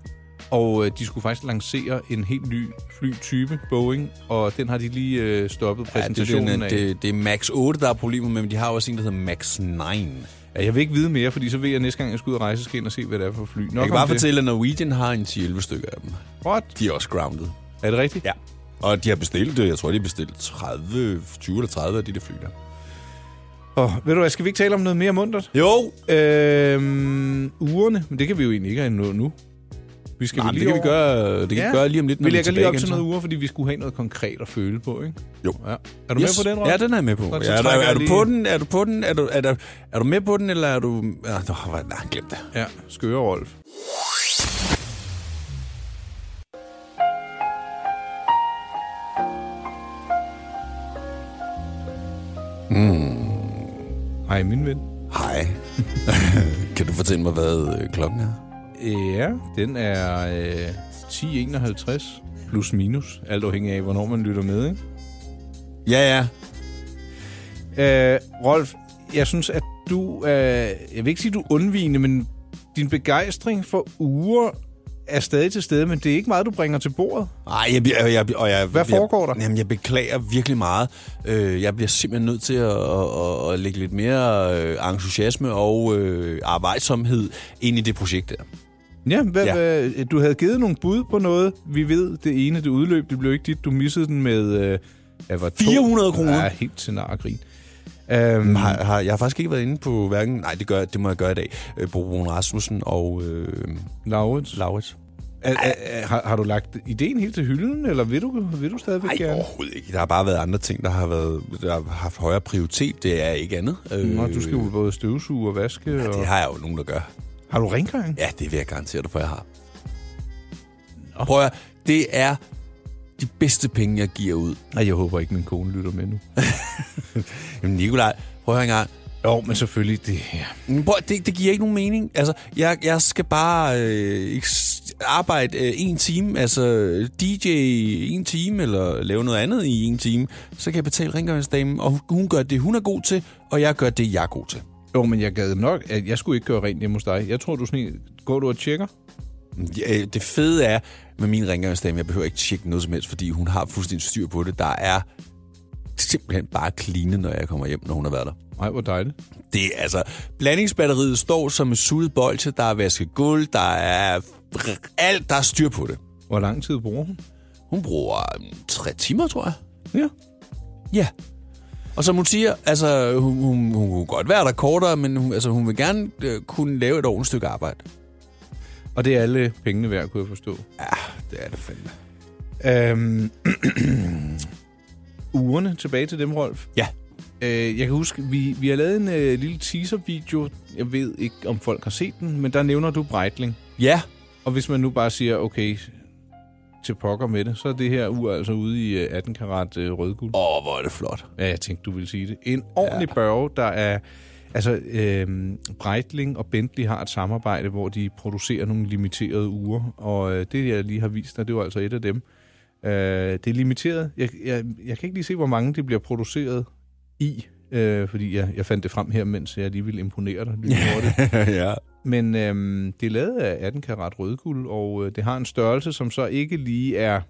[SPEAKER 3] og øh, de skulle faktisk lancere en helt ny flytype, Boeing, og den har de lige øh, stoppet
[SPEAKER 2] Ja, det, er
[SPEAKER 3] præsentationen
[SPEAKER 2] den,
[SPEAKER 3] af.
[SPEAKER 2] øh, det, det er Max 8, der er problemer med, men de har også en, der hedder Max 9.
[SPEAKER 3] Ja, jeg vil ikke vide mere, fordi så ved jeg næste gang, jeg skal ud og rejse, skal jeg ind og se, hvad det er for fly. Nok
[SPEAKER 2] Jeg
[SPEAKER 3] om
[SPEAKER 2] kan bare
[SPEAKER 3] det.
[SPEAKER 2] fortælle, at Norwegian har en 10-11 stykker af dem.
[SPEAKER 3] What?
[SPEAKER 2] De er også grounded.
[SPEAKER 3] Er det rigtigt?
[SPEAKER 2] Ja. Og de har bestilt, øh, jeg tror, de har bestilt 30, 20 eller 30 af de der fly der.
[SPEAKER 3] Og ved du hvad, skal vi ikke tale om noget mere mundtet?
[SPEAKER 2] Jo!
[SPEAKER 3] Øhm, ugerne, men det kan vi jo egentlig ikke have nået nu. Vi skal
[SPEAKER 2] Nej,
[SPEAKER 3] Nej,
[SPEAKER 2] men
[SPEAKER 3] vi
[SPEAKER 2] det kan
[SPEAKER 3] lige
[SPEAKER 2] vi
[SPEAKER 3] over-
[SPEAKER 2] gøre, øh, det kan vi gøre lige om lidt, når
[SPEAKER 3] vi
[SPEAKER 2] vi er
[SPEAKER 3] lægger lige
[SPEAKER 2] tilbage
[SPEAKER 3] op
[SPEAKER 2] igen.
[SPEAKER 3] til
[SPEAKER 2] så.
[SPEAKER 3] noget uger, fordi vi skulle have noget konkret at føle på, ikke?
[SPEAKER 2] Jo.
[SPEAKER 3] Ja. Er du yes. med på den, Rolf?
[SPEAKER 2] Ja, den er jeg med på.
[SPEAKER 3] Godt, så
[SPEAKER 2] Ja, er, du-
[SPEAKER 3] trækker
[SPEAKER 2] er,
[SPEAKER 3] jeg
[SPEAKER 2] du
[SPEAKER 3] lige-
[SPEAKER 2] på den? Er du på den? Er du, er, der, er du med på den, eller er du... Ah, nå, hvad- nej, glem det.
[SPEAKER 3] Ja, skøre Rolf. Mm. Hej, min ven.
[SPEAKER 2] Hej. kan du fortælle mig, hvad øh, klokken er?
[SPEAKER 3] Ja, den er øh, 10.51 plus minus, alt afhængig af, hvornår man lytter med. Ikke?
[SPEAKER 2] Ja, ja.
[SPEAKER 3] Øh, Rolf, jeg synes, at du, øh, jeg vil ikke sige, du er undvigende, men din begejstring for uger er stadig til stede, men det er ikke meget, du bringer til bordet.
[SPEAKER 2] Ej, jeg, bliver- jeg, jeg, og jeg,
[SPEAKER 3] Hvad foregår der?
[SPEAKER 2] Jeg, jamen, jeg beklager virkelig meget. Øh, jeg bliver simpelthen nødt til at, at, at, at lægge lidt mere øh, entusiasme og øh, arbejdsomhed ind i det projekt der.
[SPEAKER 3] Ja, hvad, ja.
[SPEAKER 2] Ja.
[SPEAKER 3] Hvad, du havde givet nogle bud på noget. Vi ved, det ene, det udløb, det blev ikke dit. Du missede den med... Øh, jeg var to-
[SPEAKER 2] 400 kroner.
[SPEAKER 3] Ja, helt til nargrin. Øhm,
[SPEAKER 2] Har, har, jeg har faktisk ikke været inde på hverken... Nej, det, gør, det må jeg gøre i dag. Øh, Bo Brun Rasmussen og øh,
[SPEAKER 3] Laurits.
[SPEAKER 2] Laurits.
[SPEAKER 3] Er, er, er, har, har du lagt ideen helt til hylden, eller vil du, vil du stadigvæk
[SPEAKER 2] Nej,
[SPEAKER 3] gerne?
[SPEAKER 2] overhovedet ikke. Der har bare været andre ting, der har, været, der har haft højere prioritet. Det er ikke andet. Øh,
[SPEAKER 3] Nå, du skal jo både støvsuge og vaske. Ja,
[SPEAKER 2] Det
[SPEAKER 3] og...
[SPEAKER 2] har jeg jo nogen, der gør.
[SPEAKER 3] Har du rengøring?
[SPEAKER 2] Ja, det vil jeg garantere dig for, jeg har. Prøv at, høre, det er de bedste penge, jeg giver ud.
[SPEAKER 3] Nej, jeg håber ikke, min kone lytter med nu.
[SPEAKER 2] Jamen, Nikolaj, prøv at høre engang.
[SPEAKER 3] Jo, men selvfølgelig det her.
[SPEAKER 2] Men Prøv, at- det, det giver ikke nogen mening. Altså, jeg, jeg skal bare øh, ikke s- arbejde øh, en time, altså DJ i en time, eller lave noget andet i en time. Så kan jeg betale rengøringsdamen, og hun, hun gør det, hun er god til, og jeg gør det, jeg er god til.
[SPEAKER 3] Jo, men jeg gad nok, at jeg skulle ikke gøre rent hjemme hos dig. Jeg tror, du sådan en- Går du og tjekker?
[SPEAKER 2] Ja, øh, det fede er med min rengøringsdame, jeg behøver ikke tjekke noget som helst, fordi hun har fuldstændig styr på det. Der er simpelthen bare clean, når jeg kommer hjem, når hun har været der.
[SPEAKER 3] Nej, hvor dejligt.
[SPEAKER 2] Det er altså... Blandingsbatteriet står som en suttet bolse, der er vasket gulv, der er alt, der er styr på det.
[SPEAKER 3] Hvor lang tid bruger hun?
[SPEAKER 2] Hun bruger mm, tre timer, tror jeg.
[SPEAKER 3] Ja.
[SPEAKER 2] Ja. Og som hun siger, altså, hun, hun, hun kunne godt være der kortere, men hun, altså, hun vil gerne øh, kunne lave et ordentligt stykke arbejde.
[SPEAKER 3] Og det er alle pengene værd, kunne jeg forstå.
[SPEAKER 2] Det er det fandme.
[SPEAKER 3] Øhm, ugerne, tilbage til dem, Rolf.
[SPEAKER 2] Ja.
[SPEAKER 3] Øh, jeg kan huske, vi, vi har lavet en øh, lille teaser-video. Jeg ved ikke, om folk har set den, men der nævner du Breitling.
[SPEAKER 2] Ja.
[SPEAKER 3] Og hvis man nu bare siger, okay, til pokker med det, så er det her ur altså ude i øh, 18 karat øh, rødguld.
[SPEAKER 2] Åh, hvor er det flot.
[SPEAKER 3] Ja, jeg tænkte, du ville sige det. En ordentlig ja. børge, der er... Altså, øhm, Breitling og Bentley har et samarbejde, hvor de producerer nogle limiterede ure, og øh, det, jeg lige har vist dig, det var altså et af dem. Øh, det er limiteret. Jeg, jeg, jeg kan ikke lige se, hvor mange det bliver produceret i, øh, fordi jeg, jeg fandt det frem her, mens jeg lige ville imponere dig. Lige over det.
[SPEAKER 2] ja.
[SPEAKER 3] Men øhm, det er lavet af 18 karat rødguld, og øh, det har en størrelse, som så ikke lige er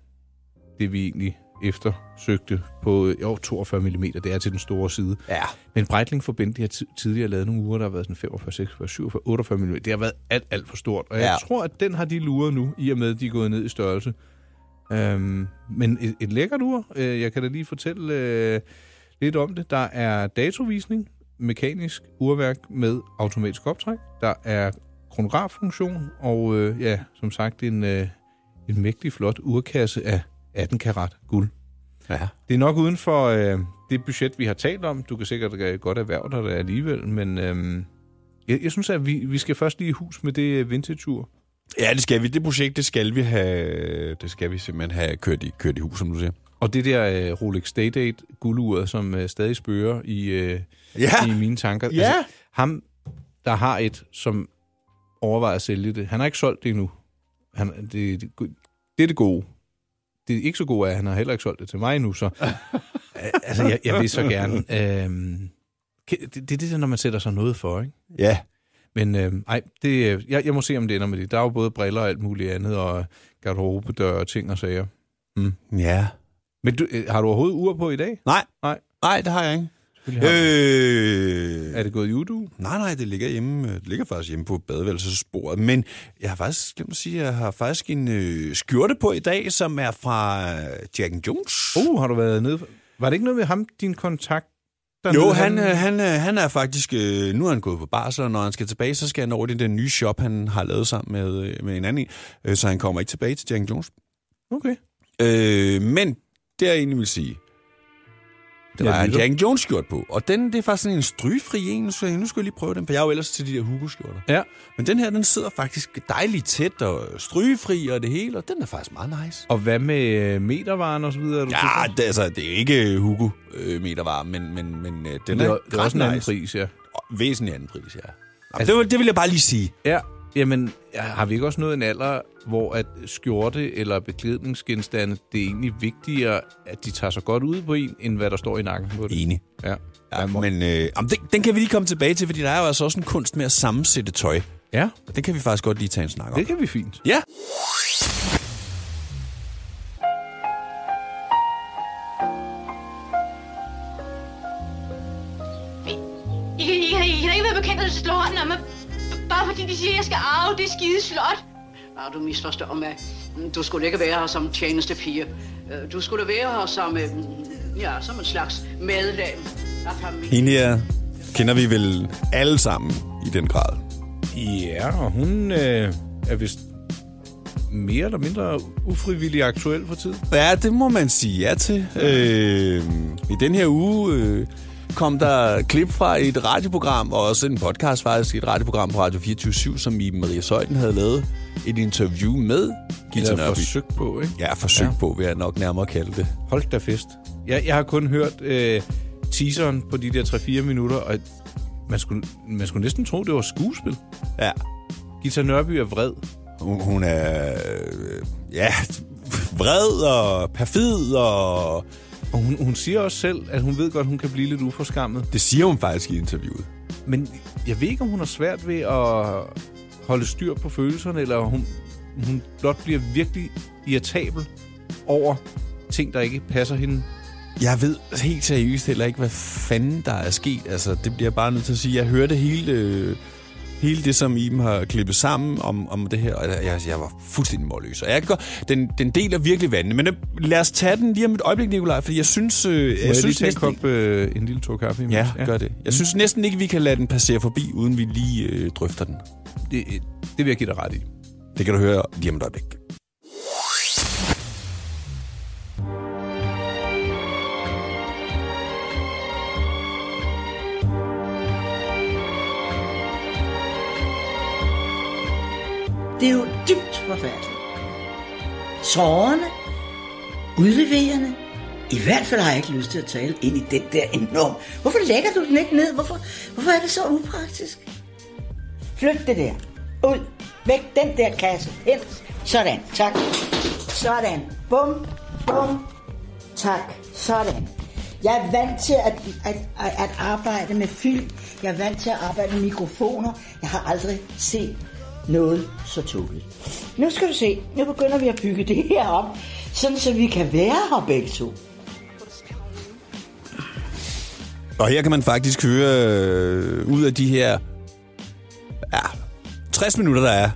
[SPEAKER 3] det, vi egentlig eftersøgte på øh, jo, 42 mm. Det er til den store side.
[SPEAKER 2] Ja.
[SPEAKER 3] Men Breitling for Bentley har ti- tidligere lavet nogle uger, der har været sådan 45, 46, 47, 48 mm. Det har været alt, alt for stort. Og ja. jeg
[SPEAKER 2] Ja.
[SPEAKER 3] tror, at den har de luret nu, i og med, at de er gået ned i størrelse. Øhm, men et, et lækkert ur. Øh, jeg kan da lige fortælle øh, lidt om det. Der er datovisning, mekanisk urværk med automatisk optræk. Der er kronograffunktion, og øh, ja, som sagt, en, øh, en mægtig flot urkasse af 18 karat guld.
[SPEAKER 2] ja.
[SPEAKER 3] Det er nok uden for øh, det budget, vi har talt om. Du kan sikkert øh, godt erhverve dig det alligevel, men øh, jeg, jeg synes, at vi, vi skal først lige i hus med det øh, vintage-ur.
[SPEAKER 2] Ja, det skal vi. Det projekt, det skal vi have, det skal vi simpelthen have kørt i, kørt i hus, som du siger.
[SPEAKER 3] Og det der øh, Rolex Day-Date gulduret, som øh, stadig spørger i, øh,
[SPEAKER 2] Ja.
[SPEAKER 3] i mine tanker. Altså,
[SPEAKER 2] Ja.
[SPEAKER 3] ham, der har et, som overvejer at sælge det, han har ikke solgt det endnu. Han, det, det, det er det gode. Det er ikke så gode er, at han har heller ikke solgt det til mig endnu, så altså, jeg, jeg vil så gerne. Øhm, kan- det, det er det der, når man sætter sig noget for, ikke?
[SPEAKER 2] Ja.
[SPEAKER 3] Men øh, ej, det, øh, jeg, jeg må se, om det ender med det. Der er jo både briller og alt muligt andet, og garderobedør og ting og sager.
[SPEAKER 2] Ja.
[SPEAKER 3] Men du, øh, har du overhovedet ur på i dag?
[SPEAKER 2] Nej.
[SPEAKER 3] Nej.
[SPEAKER 2] Nej, det har jeg ikke.
[SPEAKER 3] Øh.
[SPEAKER 2] Øh.
[SPEAKER 3] Er det gået i udu?
[SPEAKER 2] Nej, nej, det ligger, hjemme, øh, det ligger faktisk hjemme på badeværelsesbordet. Men jeg har faktisk glemt at sige, at jeg har faktisk en øh, skjorte på i dag, som er fra øh, Jack and Jones.
[SPEAKER 3] Uh, har du været nede? for- Var det ikke noget med ham, din kontakt?
[SPEAKER 2] Jo,
[SPEAKER 3] dernede,
[SPEAKER 2] han, øh, han, øh, han er faktisk... Øh, nu er han gået på barsel, og når han skal tilbage, så skal han over i den der nye shop, han har lavet sammen med, øh, med en anden. en. Øh, så han kommer ikke tilbage til Jack and Jones.
[SPEAKER 3] Okay.
[SPEAKER 2] Øh, men det jeg egentlig vil sige, det
[SPEAKER 3] Jeg
[SPEAKER 2] var en
[SPEAKER 3] lytter.
[SPEAKER 2] Jack and Jones skjort på. Og den, det er faktisk sådan en strygefri en, så nu skal jeg lige prøve den, for jeg er jo ellers til de der Hugo-skjorter.
[SPEAKER 3] Ja.
[SPEAKER 2] Men den her, den sidder faktisk dejligt tæt og strygefri og det hele, og den er faktisk meget nice.
[SPEAKER 3] Og hvad med øh, metervaren og så videre? er Du
[SPEAKER 2] Ja, det, altså, det er jo ikke Hugo øh, metervare, men, men, men øh, den
[SPEAKER 3] det,
[SPEAKER 2] er,
[SPEAKER 3] er, det er
[SPEAKER 2] ret
[SPEAKER 3] også en anden
[SPEAKER 2] nice.
[SPEAKER 3] pris, ja.
[SPEAKER 2] Og Væsentlig anden pris, ja. Altså, det, vil, det vil jeg bare lige sige.
[SPEAKER 3] Ja, jamen, ja, har vi ikke også nået en alder, hvor at skjorte eller beklædningsgenstande, det er egentlig vigtigere, at de tager sig godt ud på en, end hvad der står i nakken på det?
[SPEAKER 2] Enig.
[SPEAKER 3] Ja.
[SPEAKER 2] Ja, men øh, jamen, den, den kan vi lige komme tilbage til, fordi der er jo altså også en kunst med at sammensætte tøj.
[SPEAKER 3] ja,
[SPEAKER 2] Og den kan vi faktisk godt lige tage en snak om.
[SPEAKER 3] det kan vi fint.
[SPEAKER 2] Ja.
[SPEAKER 5] I, kan- I, kan, I kan da ikke være bekendt, at du slår hånden om mig, b- bare fordi de siger, at jeg skal arve det skide slot.
[SPEAKER 6] Ah, du misforstår mig. Mm, Du skulle ikke være her som tjenestepige. Øh, Du skulle være her som, øh, ja, som en slags medlem af familien.
[SPEAKER 2] Hende her kender vi vel alle sammen i den grad.
[SPEAKER 3] Ja, og hun øh, er vist mere eller mindre ufrivillig aktuel for tiden.
[SPEAKER 2] Ja, det må man sige ja til. Øh, I den her uge øh, kom der klip fra et radioprogram, og også en podcast faktisk, et radioprogram på Radio 24 som Iben Maria Søjden havde lavet et interview med Gita
[SPEAKER 3] Eller
[SPEAKER 2] Nørby.
[SPEAKER 3] forsøgt på, ikke?
[SPEAKER 2] Ja, forsøg ja. på, vil jeg nok nærmere kalde det.
[SPEAKER 3] Hold da fest. Jeg, jeg har kun hørt øh, teaseren på de der 3-4 minutter, og man skulle, man skulle næsten tro, det var skuespil.
[SPEAKER 2] Ja.
[SPEAKER 3] Gita Nørby er vred.
[SPEAKER 2] Hun, hun er, øh, ja, vred og perfid, og
[SPEAKER 3] Og hun, hun siger også selv, at hun ved godt, hun kan blive lidt uforskammet.
[SPEAKER 2] det siger hun faktisk i interviewet.
[SPEAKER 3] Men jeg ved ikke, om hun har svært ved at holde styr på følelserne, eller hun, hun blot bliver virkelig irritabel over ting, der ikke passer hende.
[SPEAKER 2] Jeg ved helt seriøst heller ikke, hvad fanden der er sket. Altså, det bliver jeg bare nødt til at sige. Jeg hørte hele, øh, hele det, som Iben har klippet sammen om, om det her, og jeg, jeg- jeg var fuldstændig målløs. Og jeg kan godt, den, den deler virkelig vandet, men øh, lad os tage den lige om et øjeblik, Nikolaj, fordi jeg synes... Øh, jeg,
[SPEAKER 3] Må jeg, jeg lige
[SPEAKER 2] synes
[SPEAKER 3] tage en,
[SPEAKER 2] næsten
[SPEAKER 3] kop, øh, en lille tår kaffe?
[SPEAKER 2] ikke-
[SPEAKER 3] imens?
[SPEAKER 2] Ja, gør det. Jeg synes næsten ikke, vi kan lade den passere forbi, uden vi lige øh, drøfter den.
[SPEAKER 3] det. øh, Det vil jeg give dig ret i.
[SPEAKER 2] Det kan du høre lige om et øjeblik.
[SPEAKER 7] Det er jo dybt forfærdeligt. sårende, udleverende. I hvert fald har jeg ikke lyst til at tale ind i den der enorm. Hvorfor lægger du den ikke ned? Hvorfor, hvorfor er det så upraktisk? Flyt det der. Ud. Væk den der kasse. Hen. Sådan. Tak. Sådan. Bum. Bum. Tak. Sådan. Jeg er vant til at, at, at, at arbejde med film. Jeg er vant til at arbejde med mikrofoner. Jeg har aldrig set noget så tåbeligt. Nu skal du se. Nu begynder vi at bygge det her op, sådan så vi kan være her begge to.
[SPEAKER 2] Og her kan man faktisk høre øh, ud af de her ja, 60 minutter, der er,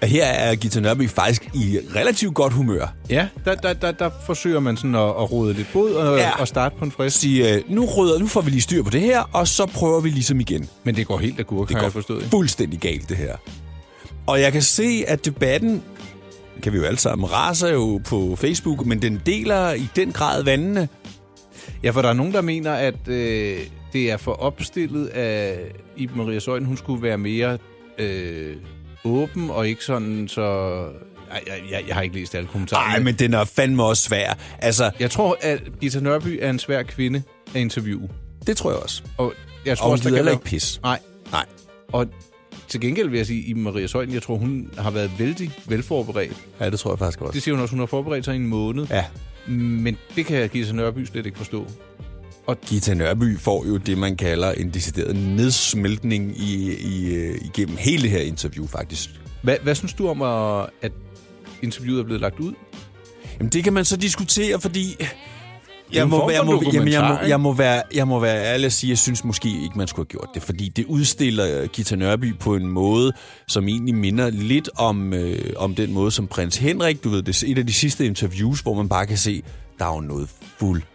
[SPEAKER 2] at her er Gita Nørby faktisk i relativt godt humør.
[SPEAKER 3] Ja, der, der, der, der forsøger man sådan at, at rode lidt bod og,
[SPEAKER 2] Ja.
[SPEAKER 3] ja. og starte på en frisk.
[SPEAKER 2] Sige, øh, nu, rydder, nu får vi lige styr på det her, og så prøver vi ligesom igen.
[SPEAKER 3] Men det går helt af gurk,
[SPEAKER 2] Det
[SPEAKER 3] har
[SPEAKER 2] går
[SPEAKER 3] jeg forstået. Ikke?
[SPEAKER 2] fuldstændig galt, det her. Og jeg kan se, at debatten, kan vi jo alle sammen, raser jo på Facebook, men den deler i den grad vandene.
[SPEAKER 3] Ja, for der er nogen, der mener, at øh, det er for opstillet af Iben Maria Søjden. Hun skulle være mere øh, åben og ikke sådan så... Ej, jeg, jeg, jeg har ikke læst alle kommentarer.
[SPEAKER 2] Nej, men den er fandme også svær. Altså,
[SPEAKER 3] Jeg tror, at Gita Nørby er en svær kvinde at interviewe.
[SPEAKER 2] det tror jeg også.
[SPEAKER 3] Og jeg tror
[SPEAKER 2] Og hun
[SPEAKER 3] også, der
[SPEAKER 2] gider
[SPEAKER 3] kan
[SPEAKER 2] heller
[SPEAKER 3] være...
[SPEAKER 2] ikke pis.
[SPEAKER 3] Nej.
[SPEAKER 2] Nej.
[SPEAKER 3] Og til gengæld vil jeg sige, at Maria Søjden, jeg tror, hun har været vældig velforberedt.
[SPEAKER 2] Ja, det tror jeg faktisk også.
[SPEAKER 3] Det siger hun også, hun har forberedt sig i en måned.
[SPEAKER 2] Ja.
[SPEAKER 3] Men det kan Gita Nørby slet ikke forstå.
[SPEAKER 2] Gita Nørby får jo det, man kalder en decideret nedsmeltning i, i, øh, igennem hele det her interview, faktisk.
[SPEAKER 3] Hvad, hvad synes du om, at at interviewet er blevet lagt ud?
[SPEAKER 2] Jamen, det kan man så diskutere, fordi...
[SPEAKER 3] en
[SPEAKER 2] Jeg må,
[SPEAKER 3] form
[SPEAKER 2] være- jeg, må,
[SPEAKER 3] for
[SPEAKER 2] jamen, jeg,
[SPEAKER 3] dokumentar,
[SPEAKER 2] må,
[SPEAKER 3] ikke?
[SPEAKER 2] jeg, må være, jeg må være ærlig og sige, at jeg synes måske ikke, man skulle have gjort det. Fordi det udstiller øh, Gita Nørby på en måde, som egentlig minder lidt om, øh, om den måde, som prins Henrik, du ved, det er et af de sidste interviews, hvor man bare kan se, der er jo noget fuldstændig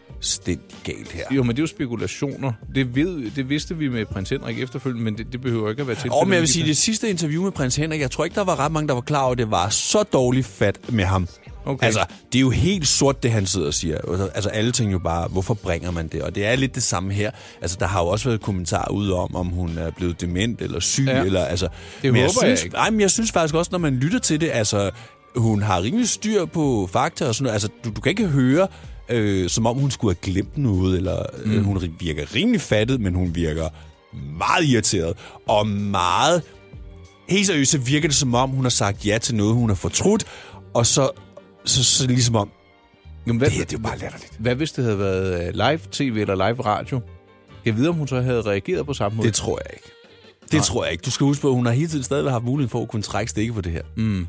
[SPEAKER 2] galt her.
[SPEAKER 3] Jo, men det er jo spekulationer. Det, ved, det vidste vi med prins Henrik efterfølgende, men det, det behøver ikke at være tilfældet.
[SPEAKER 2] Og men jeg vil sige, det sidste interview med prins Henrik, jeg tror ikke, der var ret mange, der var klar over, at det var så dårligt fat med ham.
[SPEAKER 3] Okay.
[SPEAKER 2] Altså, det er jo helt sort, det han sidder og siger. Altså, Altså, alle tænker jo bare, hvorfor bringer man det? Og det er lidt det samme her. Altså, der har jo også været kommentarer ud om, om hun er blevet dement eller syg.
[SPEAKER 3] Ja.
[SPEAKER 2] Ja. Eller, altså,
[SPEAKER 3] Det
[SPEAKER 2] men jeg
[SPEAKER 3] håber jeg
[SPEAKER 2] synes,
[SPEAKER 3] ikke.
[SPEAKER 2] Ej, men jeg synes faktisk også, når man lytter til det, altså, hun har rimelig styr på fakta og sådan noget. Altså, du, du kan ikke høre, øh, som om hun skulle have glemt noget, eller øh, hun ri- virker rimelig fattet, men hun virker meget irriteret, og meget... Helt seriøst, så virker det som om, hun har sagt ja til noget, hun har fortrudt, og så, så, så ligesom om,
[SPEAKER 3] Jamen, hvad,
[SPEAKER 2] det her, det er jo bare latterligt.
[SPEAKER 3] hvad hvis det havde været øh, live-tv eller live-radio? Jeg ved, om hun så havde reageret på samme måde.
[SPEAKER 2] Det tror jeg ikke. Det Nej. tror jeg ikke. Du skal huske på, at hun har hele tiden stadig haft muligheden for at kunne trække stikke på det her. Mm.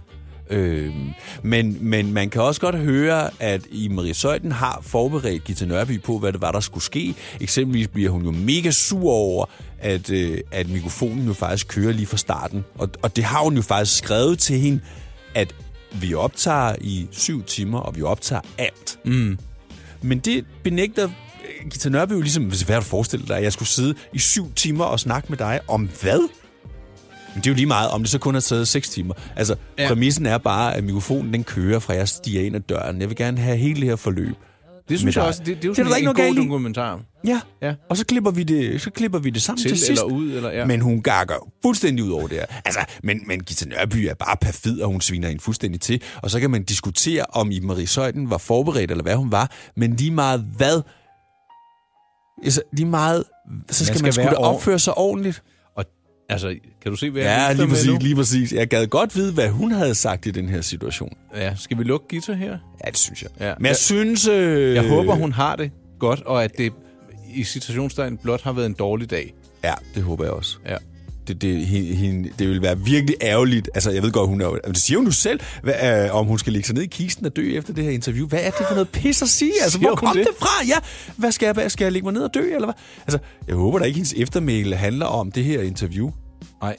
[SPEAKER 2] Øhm, men, men man kan også godt høre, at i Marie Søjden har forberedt Gita Nørby på, hvad det var, der skulle ske. Eksempelvis bliver hun jo mega sur over, at, øh, at mikrofonen jo faktisk kører lige fra starten. Og, og det har hun jo faktisk skrevet til hende, at vi optager i syv timer, og vi optager alt. Men det benægter øh, Gita Nørby jo ligesom, hvis hvad har du forestillet dig, at jeg skulle sidde i syv timer og snakke med dig om hvad? Men det er jo lige meget, om det så kun har taget 6 timer. Altså, ja. præmissen er bare, at mikrofonen den kører fra jeg stiger ind ad døren. Jeg vil gerne have hele det her forløb.
[SPEAKER 3] det
[SPEAKER 2] med
[SPEAKER 3] synes jeg
[SPEAKER 2] dig.
[SPEAKER 3] også. Det, det er jo
[SPEAKER 2] Det er
[SPEAKER 3] sådan
[SPEAKER 2] der ikke noget
[SPEAKER 3] en, en
[SPEAKER 2] galt
[SPEAKER 3] god
[SPEAKER 2] i.
[SPEAKER 3] dokumentar.
[SPEAKER 2] Ja.
[SPEAKER 3] Ja.
[SPEAKER 2] Og så klipper vi det, så klipper vi det sammen til,
[SPEAKER 3] Til
[SPEAKER 2] sidst.
[SPEAKER 3] eller ud, eller- ja.
[SPEAKER 2] Men hun gakker jo fuldstændig ud over det her. Altså, men, men Gita Nørby er bare perfid, og hun sviner hende fuldstændig til. Og så kan man diskutere, om i Marie Søjden var forberedt, eller hvad hun var. Men lige meget hvad, altså, lige meget, så skal
[SPEAKER 3] skal
[SPEAKER 2] man, skal man
[SPEAKER 3] være
[SPEAKER 2] da
[SPEAKER 3] ord-
[SPEAKER 2] opføre sig ordentligt.
[SPEAKER 3] Og altså, kan du se, hvad jeg
[SPEAKER 2] Ja,
[SPEAKER 3] vifter
[SPEAKER 2] lige
[SPEAKER 3] med nu?
[SPEAKER 2] præcis, lige præcis. Jeg gad godt vide, hvad hun havde sagt i den her situation.
[SPEAKER 3] Ja, skal vi lukke guitar her?
[SPEAKER 2] Ja, det synes jeg.
[SPEAKER 3] Ja.
[SPEAKER 2] Men jeg
[SPEAKER 3] Ja.
[SPEAKER 2] synes... Øh,
[SPEAKER 3] Jeg øh. håber, hun har det godt, og at det i citationstegn blot har været en dårlig dag.
[SPEAKER 2] Ja, det håber jeg også.
[SPEAKER 3] Ja.
[SPEAKER 2] det, det, hende, hende, det vil være virkelig ærgerligt. Altså, jeg ved godt, hun er jo- Det siger hun jo selv, hvad, øh, om hun skal lægge sig ned i kisten og dø efter det her interview. Hvad er det for noget pis at sige? Altså,
[SPEAKER 3] Siger
[SPEAKER 2] hvor
[SPEAKER 3] hun
[SPEAKER 2] kom det?
[SPEAKER 3] det?
[SPEAKER 2] det fra? Ja, hvad skal jeg, hvad, skal jeg lægge mig ned og dø, eller hvad? Altså, jeg håber da ikke, hendes eftermæle handler om det her interview.
[SPEAKER 3] Nej.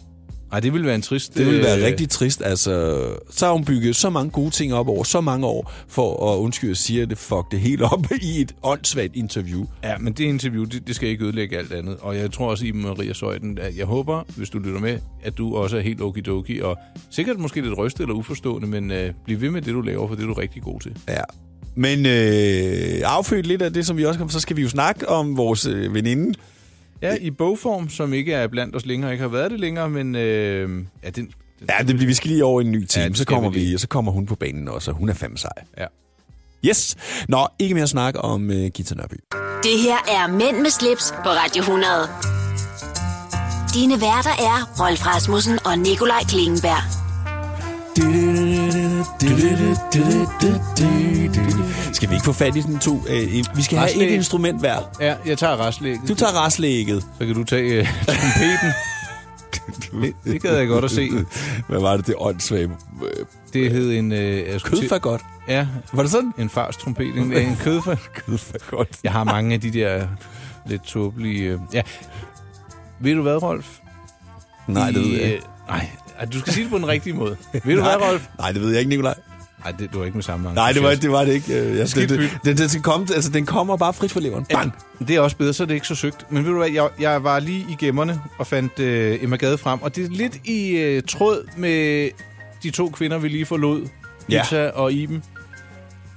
[SPEAKER 3] Nej, det ville være en trist...
[SPEAKER 2] Det ville være
[SPEAKER 3] øh,
[SPEAKER 2] rigtig trist. Altså, så har hun bygget så mange gode ting op over så mange år, for at undskylde at sige, at det fuck det helt op i et åndssvagt interview.
[SPEAKER 3] Ja, men det interview, det, det skal ikke ødelægge alt andet. Og jeg tror også, i Maria Søjden, at jeg håber, hvis du lytter med, at du også er helt okidoki, og sikkert måske lidt rystet eller uforstående, men øh, bliv ved med det, du laver, for det er du rigtig god til.
[SPEAKER 2] Ja. Men øh, affødt lidt af det, som vi også kom, så skal vi jo snakke om vores øh, veninde,
[SPEAKER 3] Ja, i bogform, som ikke er blandt os længere, ikke har været det længere, men øh, ja, den
[SPEAKER 2] Ja, det bliver, vi skal lige over i en ny time, ja,
[SPEAKER 3] det
[SPEAKER 2] så,
[SPEAKER 3] skal
[SPEAKER 2] kommer
[SPEAKER 3] vi lige.
[SPEAKER 2] vi, så kommer hun på banen også, og hun er fandme sej.
[SPEAKER 3] Ja.
[SPEAKER 2] Yes! Nå, ikke mere snak om uh, Gita Nørby.
[SPEAKER 1] Det her er Mænd med slips på Radio 100. Dine værter er Rolf Rasmussen og Nikolaj Klingenberg.
[SPEAKER 2] Skal vi ikke få fat i den to? Uh, vi skal have
[SPEAKER 3] Raslæg.
[SPEAKER 2] et instrument hver.
[SPEAKER 3] ja, jeg tager restlægget.
[SPEAKER 2] Du tager restlægget.
[SPEAKER 3] Så kan du tage øh, trompeten. det, det gad jeg godt at se.
[SPEAKER 2] Hvad var det, det åndssvage? øh,
[SPEAKER 3] Det hed en... Øh, jeg skulle
[SPEAKER 2] Kød
[SPEAKER 3] til-
[SPEAKER 2] for godt.
[SPEAKER 3] Ja,
[SPEAKER 2] Var det sådan?
[SPEAKER 3] en fars trompet. En, en kødfag.
[SPEAKER 2] Kød for godt.
[SPEAKER 3] Jeg har mange af de der lidt tåbelige... Øh, ja. Ved du hvad, Rolf?
[SPEAKER 2] Nej, det ved jeg
[SPEAKER 3] I,
[SPEAKER 2] ikke.
[SPEAKER 3] øh, Nej, ej, du skal sige det på den rigtige måde. Øh, Ved du hvad, Rolf?
[SPEAKER 2] Nej, det ved jeg ikke, Nikolaj.
[SPEAKER 3] Nej, det, du er ikke med samme
[SPEAKER 2] Nej, det var,
[SPEAKER 3] entusiasme.
[SPEAKER 2] det var det ikke. Øh, Jeg,
[SPEAKER 3] Skidt
[SPEAKER 2] det, det,
[SPEAKER 3] pyt.
[SPEAKER 2] den, den, skal komme, altså, den kommer bare frit fra leveren. Bang!
[SPEAKER 3] Det er også bedre, så er det ikke så søgt. Men ved du hvad, jeg, jeg var lige i gemmerne og fandt øh, Emma Gade frem, og det er lidt i øh, tråd med de to kvinder, vi lige forlod,
[SPEAKER 2] Ja.
[SPEAKER 3] Lisa og Iben.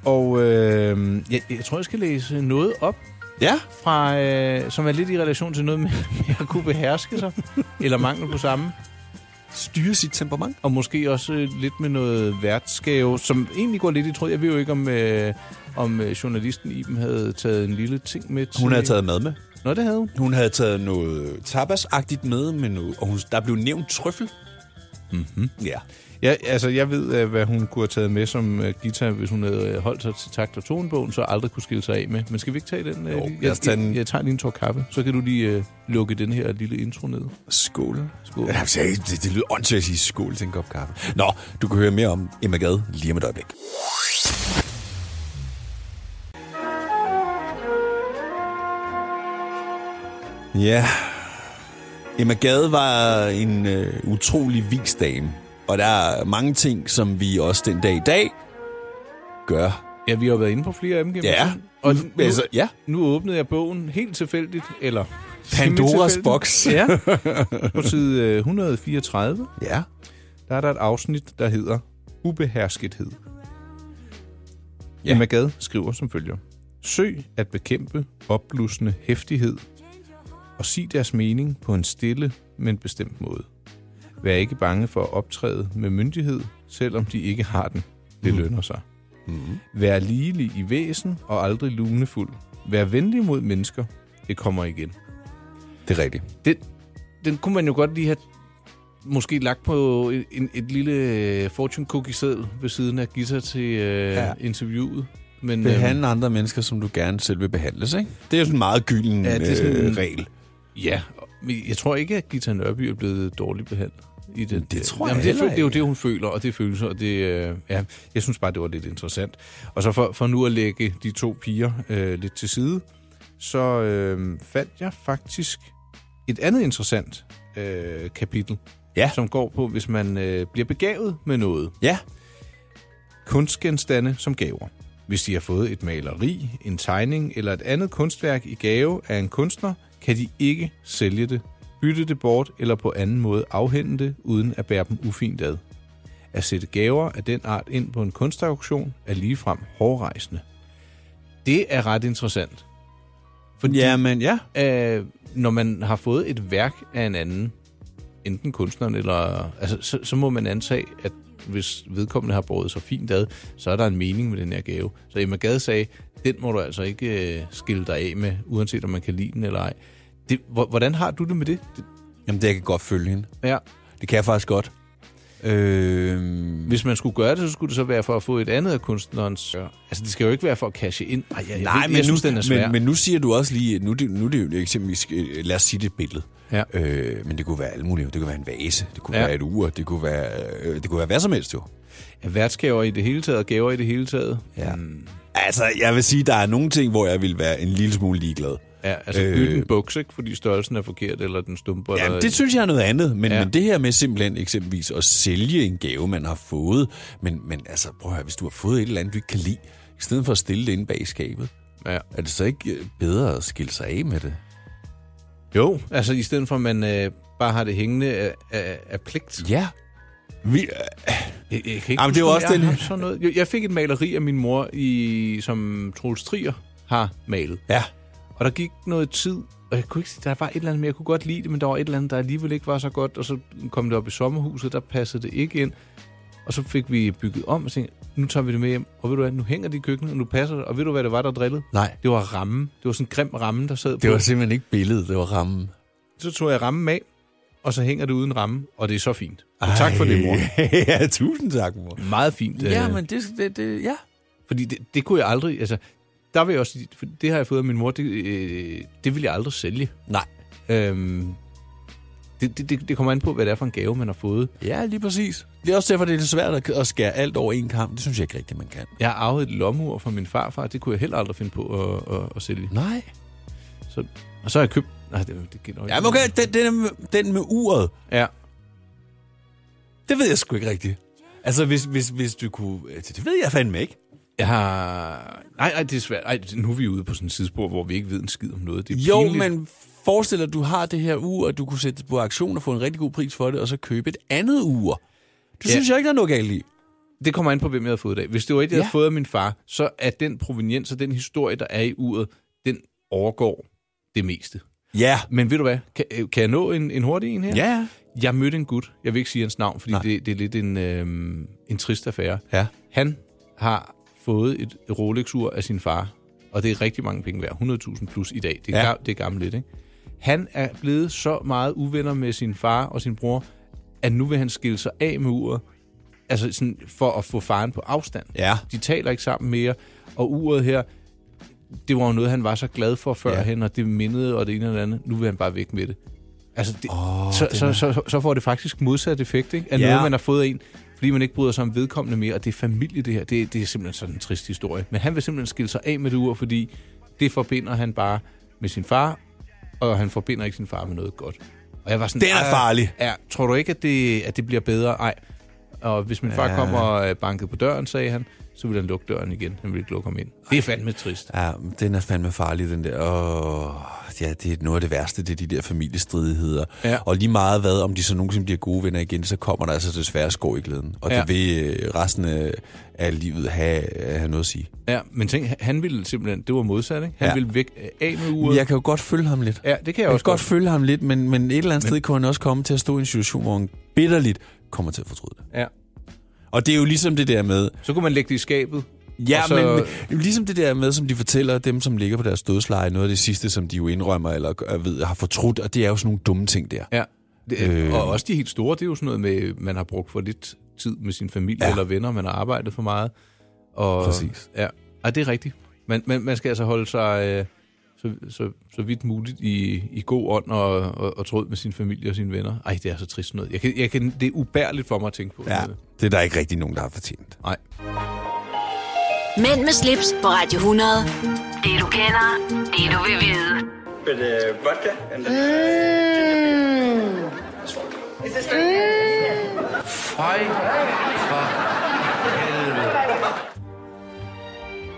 [SPEAKER 3] Og øh, jeg, jeg tror, jeg skal læse noget op,
[SPEAKER 2] Ja,
[SPEAKER 3] fra, øh, som er lidt i relation til noget med, med at kunne beherske sig, eller mangel på samme.
[SPEAKER 2] styre sit temperament.
[SPEAKER 3] Og måske også øh, lidt med noget værtsgave, som egentlig går lidt i tråd. Jeg ved jo ikke, om, øh, om øh, journalisten Iben havde taget en lille ting med til...
[SPEAKER 2] Hun havde taget mad med.
[SPEAKER 3] Nå, det havde hun.
[SPEAKER 2] Hun havde taget noget tapasagtigt med, med noget, og hun, der blev nævnt trøffel. Mm-hmm. Ja.
[SPEAKER 3] Ja, altså, jeg ved, øh, hvad hun kunne have taget med som øh, guitar, hvis hun havde øh, holdt sig til takt- og tonebogen, så aldrig kunne skille sig af med. Men skal vi ikke tage den? øh,
[SPEAKER 2] Jo,
[SPEAKER 3] lige?
[SPEAKER 2] lad os tage den.
[SPEAKER 3] Jeg, jeg tager lige en tår kaffe, så kan du lige øh, lukke den her lille intro ned.
[SPEAKER 2] Skål.
[SPEAKER 3] Skål.
[SPEAKER 2] Ja, altså, det, det lyder åndssvagt at sige skål til en kop kaffe. Nå, du kan høre mere om Emma Gade lige om et øjeblik. Ja, Emma Gade var en øh, utrolig vis dame. Og der er mange ting, som vi også den dag i dag gør.
[SPEAKER 3] Ja, vi har jo været inde på flere af dem gennem
[SPEAKER 2] Ja,
[SPEAKER 3] tiden. Og nu,
[SPEAKER 2] altså, ja.
[SPEAKER 3] nu åbnede jeg bogen helt tilfældigt, eller...
[SPEAKER 2] Pandoras
[SPEAKER 3] semi-tilfældigt.
[SPEAKER 2] boks.
[SPEAKER 3] Ja. På side øh, 134,
[SPEAKER 2] Ja.
[SPEAKER 3] der er der et afsnit, der hedder Ubeherskethed.
[SPEAKER 2] Ja.
[SPEAKER 3] Ja. Emma Gad skriver som følger. Søg at bekæmpe opblussende hæftighed og sig deres mening på en stille, men bestemt måde. Vær ikke bange for at optræde med myndighed, selvom de ikke har den. Det lønner sig. Vær ligelig i væsen og aldrig lunefuld. Vær venlig mod mennesker. Det kommer igen.
[SPEAKER 2] Det er rigtigt.
[SPEAKER 3] Den, den kunne man jo godt lige have måske lagt på en, en, et lille øh, fortune cookie seddel ved siden af Gita til øh,
[SPEAKER 2] Ja.
[SPEAKER 3] ja. interviewet. Men øhm,
[SPEAKER 2] Behandle andre mennesker, som du gerne selv vil behandles, ikke? Det er jo sådan en meget gylden ja, det er sådan, øh, regel.
[SPEAKER 3] ja, men jeg tror ikke, at Gita Nørby er blevet dårligt behandlet. I den, øh,
[SPEAKER 2] Det tror jeg
[SPEAKER 3] Jamen, det,
[SPEAKER 2] heller
[SPEAKER 3] er, det er jo det, hun føler, og det er følelser, og det, øh, ja, jeg synes bare, det var lidt interessant. Og så for, for nu at lægge de to piger øh, lidt til side, så øh, fandt jeg faktisk et andet interessant øh, kapitel,
[SPEAKER 2] Ja.
[SPEAKER 3] som går på, hvis man øh, bliver begavet med noget.
[SPEAKER 2] Ja.
[SPEAKER 3] kunstgenstande som gaver. Hvis de har fået et maleri, en tegning eller et andet kunstværk i gave af en kunstner, kan de ikke sælge det, bytte det bort eller på anden måde afhænde det, uden at bære dem ufint ad. At sætte gaver af den art ind på en kunstauktion er ligefrem hårrejsende. Det er ret interessant. Fordi
[SPEAKER 2] Ja, men ja.
[SPEAKER 3] øh, når man har fået et værk af en anden, enten kunstneren eller... Altså, så, så må man antage, at hvis vedkommende har båret sig fint ad, så er der en mening med den her gave. Så Emma Gade sagde, den må du altså ikke øh, skille dig af med, uanset om man kan lide den eller ej. Det, hvor- hvordan har du det med det? det
[SPEAKER 2] Jamen, det jeg kan godt følge hende. Øhm,
[SPEAKER 3] ja.
[SPEAKER 2] Det kan jeg faktisk godt. Øh,
[SPEAKER 3] Hvis man skulle gøre det, så skulle det så være for at få et andet af kunstnerens... Altså, det skal jo ikke være for at cashe ind. Ej, jeg, jeg, ved- jeg synes, den er svær.
[SPEAKER 2] men, men nu siger du også lige, nu, er det- nu er det jo eksempelvis, øh, lad os sige det er et billede.
[SPEAKER 3] Ja.
[SPEAKER 2] Øh, men det kunne være alt muligt. Det kunne være en vase, det kunne ja.
[SPEAKER 3] Ja.
[SPEAKER 2] være et ur, det kunne være, øh, det kunne være hvad som helst jo.
[SPEAKER 3] Ja, værtsgaver i det hele taget, og gaver i det hele taget.
[SPEAKER 2] Ja. Mm. Altså, jeg vil sige, der er nogle ting, hvor jeg vil være en lille smule ligeglad.
[SPEAKER 3] Ja, altså
[SPEAKER 2] Øh.
[SPEAKER 3] øh, bytte en buks, ikke? Fordi størrelsen er forkert, eller den stumper.
[SPEAKER 2] Ja,
[SPEAKER 3] eller...
[SPEAKER 2] det synes jeg er noget andet, men, ja.
[SPEAKER 3] Ja.
[SPEAKER 2] men det her med simpelthen eksempelvis at sælge en gave, man har fået, men, men altså, prøv at høre, hvis du har fået et eller andet, du ikke kan lide, i stedet for at stille det inde bag i skabet,
[SPEAKER 3] Ja.
[SPEAKER 2] er det så ikke øh, bedre at skille sig af med det?
[SPEAKER 3] Jo, altså i stedet for, at man øh, bare har det hængende af, af, af pligt.
[SPEAKER 2] Ja. Vi, øh,
[SPEAKER 3] Jeg, jeg kan ikke
[SPEAKER 2] Jamen, det er jo
[SPEAKER 3] huske, om
[SPEAKER 2] også
[SPEAKER 3] jeg
[SPEAKER 2] den-
[SPEAKER 3] har haft sådan noget. Jeg, jeg fik et maleri af min mor, i, som Troels Trier har malet.
[SPEAKER 2] ja.
[SPEAKER 3] Og der gik noget tid, og jeg kunne ikke, sige- der var et eller andet, men jeg kunne godt lide det, men der var et eller andet, der alligevel ikke var så godt, og så kom det op i sommerhuset, der passede det ikke ind. Og så fik vi bygget om og tænkte, nu tager vi det med hjem, og ved du hvad, nu hænger det i køkkenet, og nu passer det, og ved du hvad det var, der drillede?
[SPEAKER 2] Nej.
[SPEAKER 3] Det var rammen. Det var sådan en grim ramme, der sad på.
[SPEAKER 2] Det var simpelthen ikke billedet, det var rammen.
[SPEAKER 3] Så tog jeg rammen af, og så hænger det uden ramme, og det er så fint. Og tak for det, mor.
[SPEAKER 2] ja, tusind tak, mor.
[SPEAKER 3] Meget fint.
[SPEAKER 2] Ja,
[SPEAKER 3] øh,
[SPEAKER 2] men det, det, det ja.
[SPEAKER 3] Fordi det, det kunne jeg aldrig, altså, der vil jeg også, sige, for det har jeg fået af min mor, det, øh, det vil jeg aldrig sælge.
[SPEAKER 2] Nej.
[SPEAKER 3] Øhm, det, det- det, det kommer an på, hvad det er for en gave, man har fået.
[SPEAKER 2] Ja, lige præcis. Det er også derfor, det er lidt svært at- at skære alt over en kamp. Det synes jeg ikke rigtigt, man kan.
[SPEAKER 3] Jeg har arvet et lommeur fra min farfar, det kunne jeg heller aldrig finde på at, at, at sælge.
[SPEAKER 2] Nej.
[SPEAKER 3] Så, og så har jeg købt... Nej, det, det gælder jo ikke.
[SPEAKER 2] Ja, men okay, den, den, med, den med uret,
[SPEAKER 3] Ja.
[SPEAKER 2] det ved jeg sgu ikke rigtigt. Altså, hvis, hvis, hvis du kunne... altså, Det ved jeg fandme ikke.
[SPEAKER 3] Jeg har... Nej, nej, det er svært. Ej, nu er vi ude på sådan et sidespor, hvor vi ikke ved en skid om noget. Det er
[SPEAKER 2] Jo,
[SPEAKER 3] pinligt.
[SPEAKER 2] men forestil dig, at du har det her ur, og du kunne sætte det på aktion og få en rigtig god pris for det, og så købe et andet ur. Det
[SPEAKER 3] Ja.
[SPEAKER 2] synes jeg ikke, der er noget galt i.
[SPEAKER 3] Det kommer an på, hvem jeg havde fået i dag. Hvis det var et, jeg ja.
[SPEAKER 2] Ja.
[SPEAKER 3] havde fået af min far, så er den proveniens og den historie, der er i uret, den overgår det meste.
[SPEAKER 2] Ja.
[SPEAKER 3] Men ved du hvad? Kan, øh, kan jeg nå en, en hurtig en her?
[SPEAKER 2] Ja.
[SPEAKER 3] Jeg mødte en gut. Jeg vil ikke sige hans navn, fordi
[SPEAKER 2] Nej.
[SPEAKER 3] det, det er lidt en, øh, en trist affære.
[SPEAKER 2] Ja.
[SPEAKER 3] Han har fået et Rolex-ur af sin far, og det er rigtig mange penge værd. 100.000 plus i dag. Det er,
[SPEAKER 2] Ja.
[SPEAKER 3] ja. det er gammelt lidt, ikke? Han er blevet så meget uvenner med sin far og sin bror, at nu vil han skille sig af med uret, altså sådan for at få faren på afstand.
[SPEAKER 2] Ja.
[SPEAKER 3] De taler ikke sammen mere, og uret her, det var jo noget, han var så glad for førhen, ja. og det mindede, og det ene og det andet. Nu vil han bare væk med det. Altså, det, oh, så, så, så, så får det faktisk modsat effekt, ikke? Af
[SPEAKER 2] Ja.
[SPEAKER 3] ja. noget, man har fået af en, fordi man ikke bryder sig om vedkommende mere, og det er familie, det her. Det, det er simpelthen sådan en trist historie. Men han vil simpelthen skille sig af med det ur, fordi det forbinder han bare med sin far, og han forbinder ikke sin far med noget godt. Og jeg var sådan,
[SPEAKER 2] Den er
[SPEAKER 3] "Ej,
[SPEAKER 2] farlig."
[SPEAKER 3] Ja, tror du ikke, at det, at det bliver bedre? Nej. Og hvis min far ja. kom og øh, bankede på døren, sagde han, så ville han lukke døren igen. Han ville ikke lukke ham ind. Det er fandme trist.
[SPEAKER 2] Ja, den er fandme farlig, den der. Åh, ja, det er noget af det værste, det er de der familiestridigheder.
[SPEAKER 3] Ja.
[SPEAKER 2] Og lige meget hvad, om de så nogensinde bliver gode venner igen, så kommer der altså desværre skår i glæden. Og ja.
[SPEAKER 3] Ja.
[SPEAKER 2] det vil øh, resten af- af livet have, have noget at sige.
[SPEAKER 3] Ja, men tænk, han ville simpelthen, det var modsat, ikke?
[SPEAKER 2] Ja.
[SPEAKER 3] Han ja. ville væk øh, af med uret.
[SPEAKER 2] Men Jeg kan jo godt følge ham lidt.
[SPEAKER 3] Ja, det kan jeg,
[SPEAKER 2] Jeg kan
[SPEAKER 3] også godt.
[SPEAKER 2] godt følge ham lidt, men, men et eller andet sted kunne han også komme til at stå i en situation, hvor han bitterligt kommer til at fortryde det.
[SPEAKER 3] Ja.
[SPEAKER 2] Og det er jo ligesom det der med,
[SPEAKER 3] Så kunne man lægge det i skabet.
[SPEAKER 2] Ja,
[SPEAKER 3] Og
[SPEAKER 2] så...
[SPEAKER 3] så-
[SPEAKER 2] men men ligesom det der med, som de fortæller, dem som ligger på deres dødsleje, noget af det sidste, som de jo indrømmer eller gør- ved, har fortrudt, og det er jo sådan nogle dumme ting der.
[SPEAKER 3] Ja. Det, øh. Og også de helt store, det er jo sådan noget med, man har brugt for lidt tid med sin familie
[SPEAKER 2] Ja.
[SPEAKER 3] ja. eller venner, man har arbejdet for meget. Og,
[SPEAKER 2] Præcis.
[SPEAKER 3] Ja, og det er rigtigt. Man, man, man skal altså holde sig øh, så, så, så vidt muligt i, i god ånd og, og, og tråd med sin familie og sine venner. Ej, det er så trist sådan noget. Jeg kan, jeg kan, det er ubærligt for mig at tænke på. sådan noget.
[SPEAKER 2] Det er der ikke rigtig nogen, der har fortjent.
[SPEAKER 3] Nej.
[SPEAKER 1] Mænd med slips på Radio 100. Det du kender, det du vil vide.
[SPEAKER 8] with uh, vodka and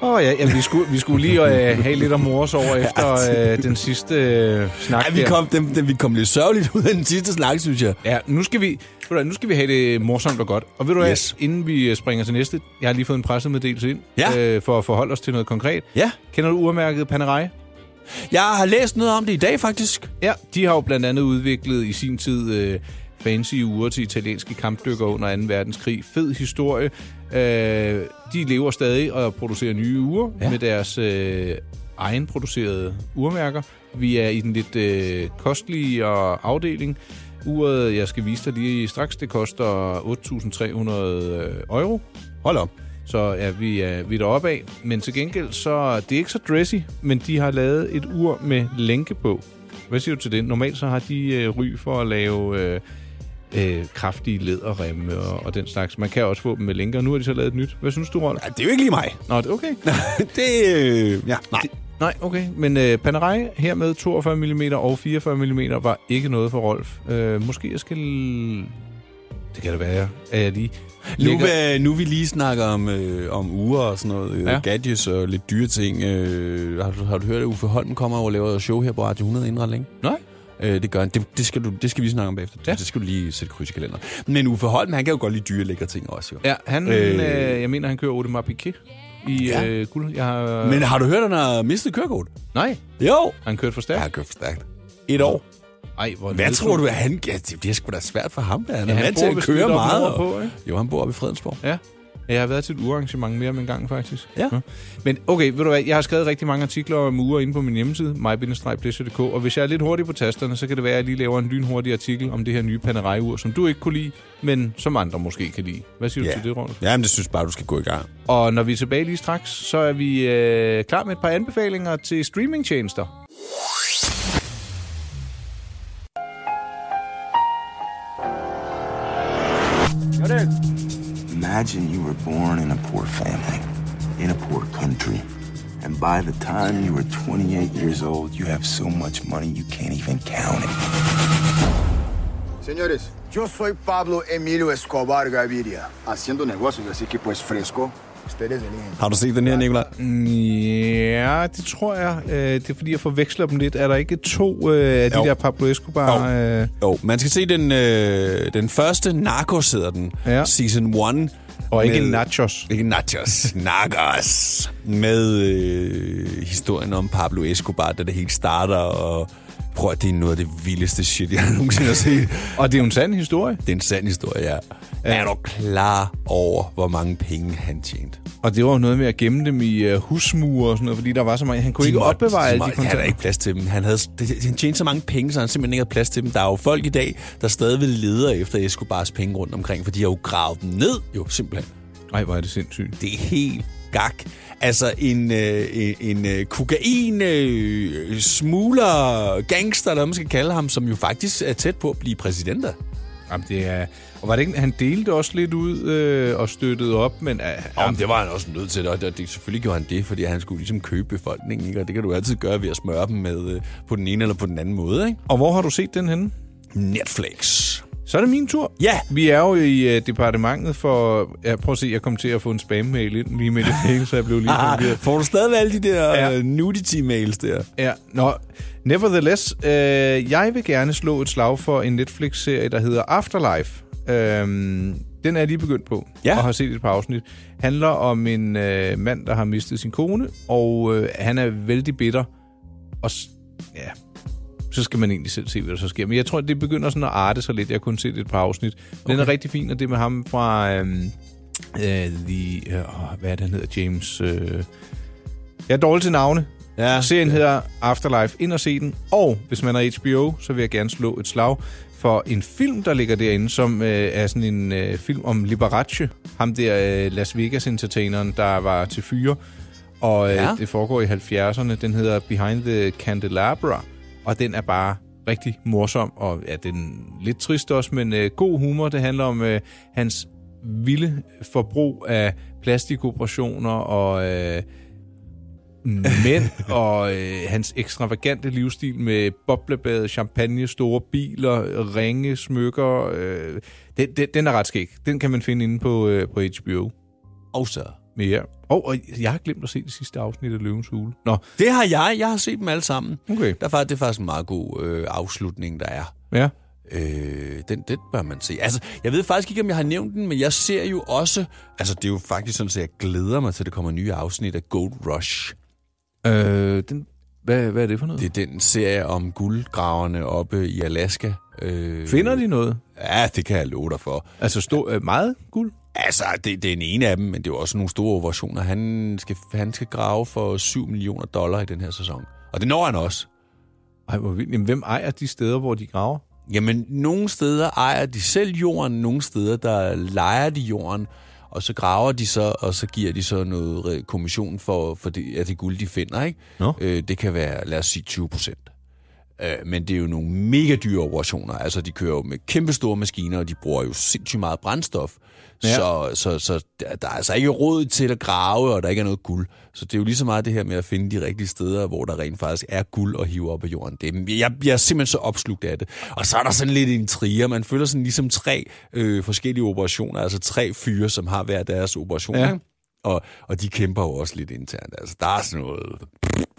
[SPEAKER 3] Åh oh, ja, jamen, vi skulle, vi skulle lige øh, have lidt om mors over efter øh, den sidste øh, snak
[SPEAKER 2] Ej, vi
[SPEAKER 3] der.
[SPEAKER 2] kom, dem, dem, vi kom lidt sørgeligt ud af den sidste snak, synes jeg.
[SPEAKER 3] Ja, nu skal vi, ved du hvad, nu skal vi have det morsomt og godt. Og ved du hvad,
[SPEAKER 2] Yes.
[SPEAKER 3] yes. inden vi øh, springer til næste, jeg har lige fået en pressemeddelelse ind,
[SPEAKER 2] Ja.
[SPEAKER 3] øh, for at forholde os til noget konkret.
[SPEAKER 2] Ja.
[SPEAKER 3] Kender du urmærket Panerai?
[SPEAKER 2] Jeg har læst noget om det i dag, faktisk.
[SPEAKER 3] Ja, de har jo blandt andet udviklet i sin tid øh, fancy ure til italienske kampdykkere under 2. verdenskrig. Fed historie. Øh, de lever stadig og producerer nye ure
[SPEAKER 2] Ja.
[SPEAKER 3] ja. med deres øh, egenproducerede urmærker. Vi er i den lidt øh, kostelige og afdeling. Uret, jeg skal vise dig lige straks, det koster 8.300 øh, euro.
[SPEAKER 2] Hold op.
[SPEAKER 3] Så ja, vi er, vi er deroppe af. Men til gengæld, så det er ikke så dressy, men de har lavet et ur med lænke på. Hvad siger du til det? Normalt så har de øh, ry for at lave øh, øh, kraftige læderremme og, og den slags. Man kan også få dem med lænker. Nu har de så lavet et nyt. Hvad synes du, Rolf?
[SPEAKER 2] Ja, det er jo ikke lige mig.
[SPEAKER 3] Nå, det er okay.
[SPEAKER 2] det, øh, ja, nej.
[SPEAKER 3] Nej, okay. Men øh, Panerai her med 42 mm og 44 mm var ikke noget for Rolf. Øh, måske jeg skal... Det kan det være, at jeg lige...
[SPEAKER 2] Nu,
[SPEAKER 3] lægger-
[SPEAKER 2] hvad, nu vi lige snakker om, øh, om uger og sådan noget, øh, ja.
[SPEAKER 3] Ja.
[SPEAKER 2] gadgets og lidt dyre ting. Øh, har, du, har du hørt, at Uffe Holm kommer og laver show her på Radio 100 inden ret længe?
[SPEAKER 3] Nej.
[SPEAKER 2] Øh, det gør han. Det, det, skal du, det skal vi snakke om bagefter. Ja.
[SPEAKER 3] Ja.
[SPEAKER 2] Det skal du lige sætte kryds i kalenderen. Men Uffe Holm, han kan jo godt lide dyre lækre ting også, jo.
[SPEAKER 3] Ja, han,
[SPEAKER 2] Øh.
[SPEAKER 3] øh... Øh, jeg mener, han kører Audemars Piguet. i ja.
[SPEAKER 2] Ja.
[SPEAKER 3] øh, guld. Jeg har...
[SPEAKER 2] Men har du hørt, at han har mistet kørekort?
[SPEAKER 3] Nej,
[SPEAKER 2] Jo.
[SPEAKER 3] han kørte for
[SPEAKER 2] Jeg
[SPEAKER 3] stærkt.
[SPEAKER 2] har kørt for stærkt. Et år.
[SPEAKER 3] Ej, hvor
[SPEAKER 2] Hvad tror du, at han... Ja, det bliver sgu da svært for ham, da. Han er
[SPEAKER 3] Ja,
[SPEAKER 2] ja,
[SPEAKER 3] han
[SPEAKER 2] vant
[SPEAKER 3] bor
[SPEAKER 2] til at
[SPEAKER 3] vist
[SPEAKER 2] køre
[SPEAKER 3] lidt oppe
[SPEAKER 2] meget.
[SPEAKER 3] nordpå, ikke?
[SPEAKER 2] Jo, han bor oppe i Fredensborg.
[SPEAKER 3] Ja. Jeg har været til et urarrangement mere om en gang, faktisk.
[SPEAKER 2] Ja.
[SPEAKER 3] Men okay, ved du hvad, jeg har skrevet rigtig mange artikler om uger inde på min hjemmeside, mybindestrejblæsser.dk, og hvis jeg er lidt hurtig på tasterne, så kan det være, at jeg lige laver en lynhurtig artikel om det her nye panerejur, som du ikke kunne lide, men som andre måske kan lide. Hvad siger du til det, Rolf?
[SPEAKER 2] Jamen, det synes bare, du skal gå i gang.
[SPEAKER 3] Og når vi er tilbage lige straks, så er vi øh, klar med et par anbefalinger til streamingtjenester.
[SPEAKER 9] Imagine you were born in a poor family, in a poor country, and by the time you were 28 years old, you have so much money you can't even count it.
[SPEAKER 10] Señores, yo soy Pablo Emilio Escobar Gaviria, haciendo negocios, así que pues fresco, ustedes eligen.
[SPEAKER 2] Har du set den her, Nicolaj?
[SPEAKER 3] Ja, det tror jeg. Øh, det er fordi, jeg forveksler dem lidt. Er der ikke to øh, af de
[SPEAKER 2] Jo.
[SPEAKER 3] der Pablo Escobar?
[SPEAKER 2] Jo.
[SPEAKER 3] Øh,
[SPEAKER 2] Jo, man skal se den, øh, den første Narcos, hedder den.
[SPEAKER 3] Ja.
[SPEAKER 2] Season 1.
[SPEAKER 3] og ikke nachos.
[SPEAKER 2] Ikke nachos. Narcos. Med øh, historien om Pablo Escobar, da det helt starter, og prøv at det er noget af det vildeste shit, jeg nogensinde har set.
[SPEAKER 3] Og det er jo en sand historie.
[SPEAKER 2] Det er en sand historie, ja. Er du klar over, hvor mange penge han tjente?
[SPEAKER 3] Og det var jo noget med at gemme dem i øh, husmure og sådan noget, fordi der var så mange. Han kunne ikke
[SPEAKER 2] måtte-
[SPEAKER 3] opbevare alle de
[SPEAKER 2] måtte- Han havde
[SPEAKER 3] kontanter.
[SPEAKER 2] ikke plads til dem. Han, havde, det- han tjente så mange penge, så han simpelthen ikke havde plads til dem. Der er jo folk i dag, der stadigvæk leder efter Escobars penge rundt omkring, for de har jo gravet dem ned, jo simpelthen.
[SPEAKER 3] Nej, hvor er det sindssygt.
[SPEAKER 2] Det er helt gak. Altså en, øh, en, en øh, kokain, øh, smugler, gangster, eller hvad man skal kalde ham, som jo faktisk er tæt på at blive præsidenter.
[SPEAKER 3] Jamen, det er... Og var det ikke, han delte også lidt ud øh, og støttede op, men... Øh,
[SPEAKER 2] Ja, men det var han også nødt til, og det, det, selvfølgelig gjorde han det, fordi han skulle ligesom købe befolkningen, ikke? og det kan du altid gøre ved at smøre dem med øh, på den ene eller på den anden måde. Ikke?
[SPEAKER 3] Og hvor har du set den henne?
[SPEAKER 2] Netflix.
[SPEAKER 3] Så er det min tur.
[SPEAKER 2] Ja.
[SPEAKER 3] Vi er jo i øh, departementet for... Ja, prøv at se, jeg kom til at få en spam-mail ind lige med det hele, så jeg blev lige
[SPEAKER 2] Ah,
[SPEAKER 3] ah,
[SPEAKER 2] får du stadig alle de der
[SPEAKER 3] Ja.
[SPEAKER 2] ja. nudity-mails der?
[SPEAKER 3] Ja, nå. Nevertheless, øh, jeg vil gerne slå et slag for en Netflix-serie, der hedder Afterlife. Øhm, den er jeg lige begyndt på,
[SPEAKER 2] Ja.
[SPEAKER 3] og har set et par afsnit. Handler om en øh, mand, der har mistet sin kone, og øh, han er vældig bitter. Og s- ja, så skal man egentlig selv se, hvad der så sker. Men jeg tror, det begynder sådan at arte sig lidt. Jeg har kun set et par afsnit. Okay. Den er rigtig fin, og det er med ham fra... Øh, øh, the, øh, åh, hvad er det, han hedder? James... Øh, jeg er dårlig til navne.
[SPEAKER 2] Ja.
[SPEAKER 3] Serien hedder Afterlife. Ind og se den. Og hvis man har HBO, så vil jeg gerne slå et slag for en film, der ligger derinde, som øh, er sådan en øh, film om Liberace. Ham der øh, Las Vegas-entertaineren, der var til fyre. Og øh, ja.
[SPEAKER 2] Ja.
[SPEAKER 3] det foregår i 70'erne. Den hedder Behind the Candelabra. Og den er bare rigtig morsom. Og ja, den er lidt trist også, men øh, god humor. Det handler om øh, hans vilde forbrug af plastikoperationer og... Øh, mænd og øh, hans ekstravagante livsstil med boblebad, champagne, store biler, ringe, smykker. Øh, den, den, den er ret skæg. Den kan man finde inde på, øh, på HBO.
[SPEAKER 2] Og så.
[SPEAKER 3] Men Ja. Og, og jeg har glemt at se det sidste afsnit af Løvens Hule. Nå,
[SPEAKER 2] Det har jeg. Jeg har set dem alle sammen.
[SPEAKER 3] Okay.
[SPEAKER 2] Der er, fakt- det er faktisk en meget god øh, afslutning, der er.
[SPEAKER 3] ja.
[SPEAKER 2] Øh, den, den bør man se. Altså, jeg ved faktisk ikke, om jeg har nævnt den, men jeg ser jo også... Altså, det er jo faktisk sådan, at jeg glæder mig til, at der kommer nye afsnit af Gold Rush.
[SPEAKER 3] Øh, den, hvad, hvad er det for noget?
[SPEAKER 2] Det
[SPEAKER 3] Det,
[SPEAKER 2] er den serie om guldgraverne oppe i Alaska. Øh,
[SPEAKER 3] Finder de noget?
[SPEAKER 2] Ja, det kan jeg love dig for.
[SPEAKER 3] Altså stå, øh, meget guld?
[SPEAKER 2] Altså, det, det er en ene af dem, men det er jo også nogle store operationer. Han skal, han skal grave for 7 millioner dollar i den her sæson. Og det når han også.
[SPEAKER 3] Ej, hvor vildt. Jamen, hvem ejer de steder, hvor de graver?
[SPEAKER 2] Jamen, nogle steder ejer de selv jorden, nogle steder der lejer de jorden, og så graver de så, og så giver de så noget re- kommission for, for det, af det guld, de finder. Ikke?
[SPEAKER 3] Nå.
[SPEAKER 2] Øh, det kan være, lad os sige, 20 procent. Øh, men det er jo nogle mega dyre operationer. Altså, de kører jo med kæmpe store maskiner, og de bruger jo sindssygt meget brændstof.
[SPEAKER 3] Ja.
[SPEAKER 2] Ja. Så, så, så der, der er altså ikke råd til at grave, og der ikke er noget guld. Så det er jo lige så meget det her med at finde de rigtige steder, hvor der rent faktisk er guld at hive op af jorden. Det, er- jeg, jeg er simpelthen så opslugt af det. Og så er der sådan lidt en trier. Man føler sådan ligesom tre øh, forskellige operationer, altså tre fyre, som har hver deres operation.
[SPEAKER 3] Ja.
[SPEAKER 2] Ja. Og, og de kæmper jo også lidt internt. Altså, der er sådan noget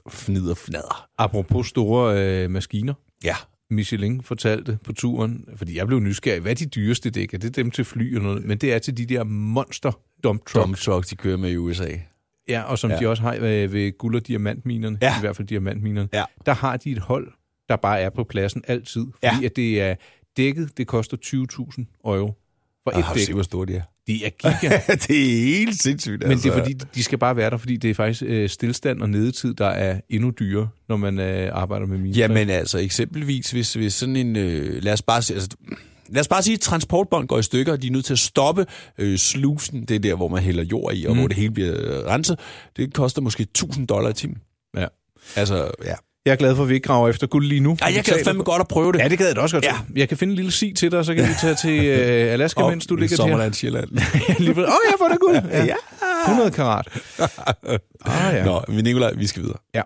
[SPEAKER 2] fnid og fnader.
[SPEAKER 3] Apropos store øh, maskiner.
[SPEAKER 2] Ja.
[SPEAKER 3] Michelin fortalte på turen, fordi jeg blev nysgerrig, hvad er de dyreste dæk er? Det er dem til fly og noget, men det er til de der monster dump trucks.
[SPEAKER 2] Dump trucks, de kører med i USA.
[SPEAKER 3] Ja, og som ja.
[SPEAKER 2] Ja.
[SPEAKER 3] de også har ved, ved guld- og diamantminerne, ja. i hvert fald diamantminerne, ja. der har de et hold, der bare er på pladsen altid. Fordi ja. at det er dækket, det koster 20.000 euro for
[SPEAKER 2] Ah,
[SPEAKER 3] et
[SPEAKER 2] har du
[SPEAKER 3] dæk.
[SPEAKER 2] set, hvor store de er?
[SPEAKER 3] De er giga.
[SPEAKER 2] det er helt sindssygt,
[SPEAKER 3] Men det
[SPEAKER 2] altså.
[SPEAKER 3] er fordi, de skal bare være der, fordi det er faktisk øh, stillstand og nedetid, der er endnu dyrere, når man øh, arbejder med miner.
[SPEAKER 2] Jamen altså, eksempelvis, hvis, hvis sådan en... Øh, lad, os bare, sige- altså, lad os bare sige, at transportbånd går i stykker, og de er nødt til at stoppe øh, slusen, det er der, hvor man hælder jord i, og
[SPEAKER 3] Mm.
[SPEAKER 2] mm. hvor det hele bliver øh, renset. Det koster måske 1000 dollar i timen.
[SPEAKER 3] Ja.
[SPEAKER 2] Altså, ja.
[SPEAKER 3] Jeg er glad for, at vi ikke graver efter guld lige nu.
[SPEAKER 2] Ej, jeg
[SPEAKER 3] Vi
[SPEAKER 2] gad
[SPEAKER 3] taler-
[SPEAKER 2] fandme godt at prøve det.
[SPEAKER 3] Ja, det gad jeg da også godt. Ja. Jeg kan finde en lille si til dig, og så kan vi tage til øh, Alaska,
[SPEAKER 2] Op
[SPEAKER 3] mens du
[SPEAKER 2] i
[SPEAKER 3] ligger der.
[SPEAKER 2] Sommerland, Sjælland.
[SPEAKER 3] Åh, oh, jeg får det guld. Ja. ja. 100 karat. Ah, ja.
[SPEAKER 2] Nå, men Nicolaj, vi skal videre.
[SPEAKER 3] Ja.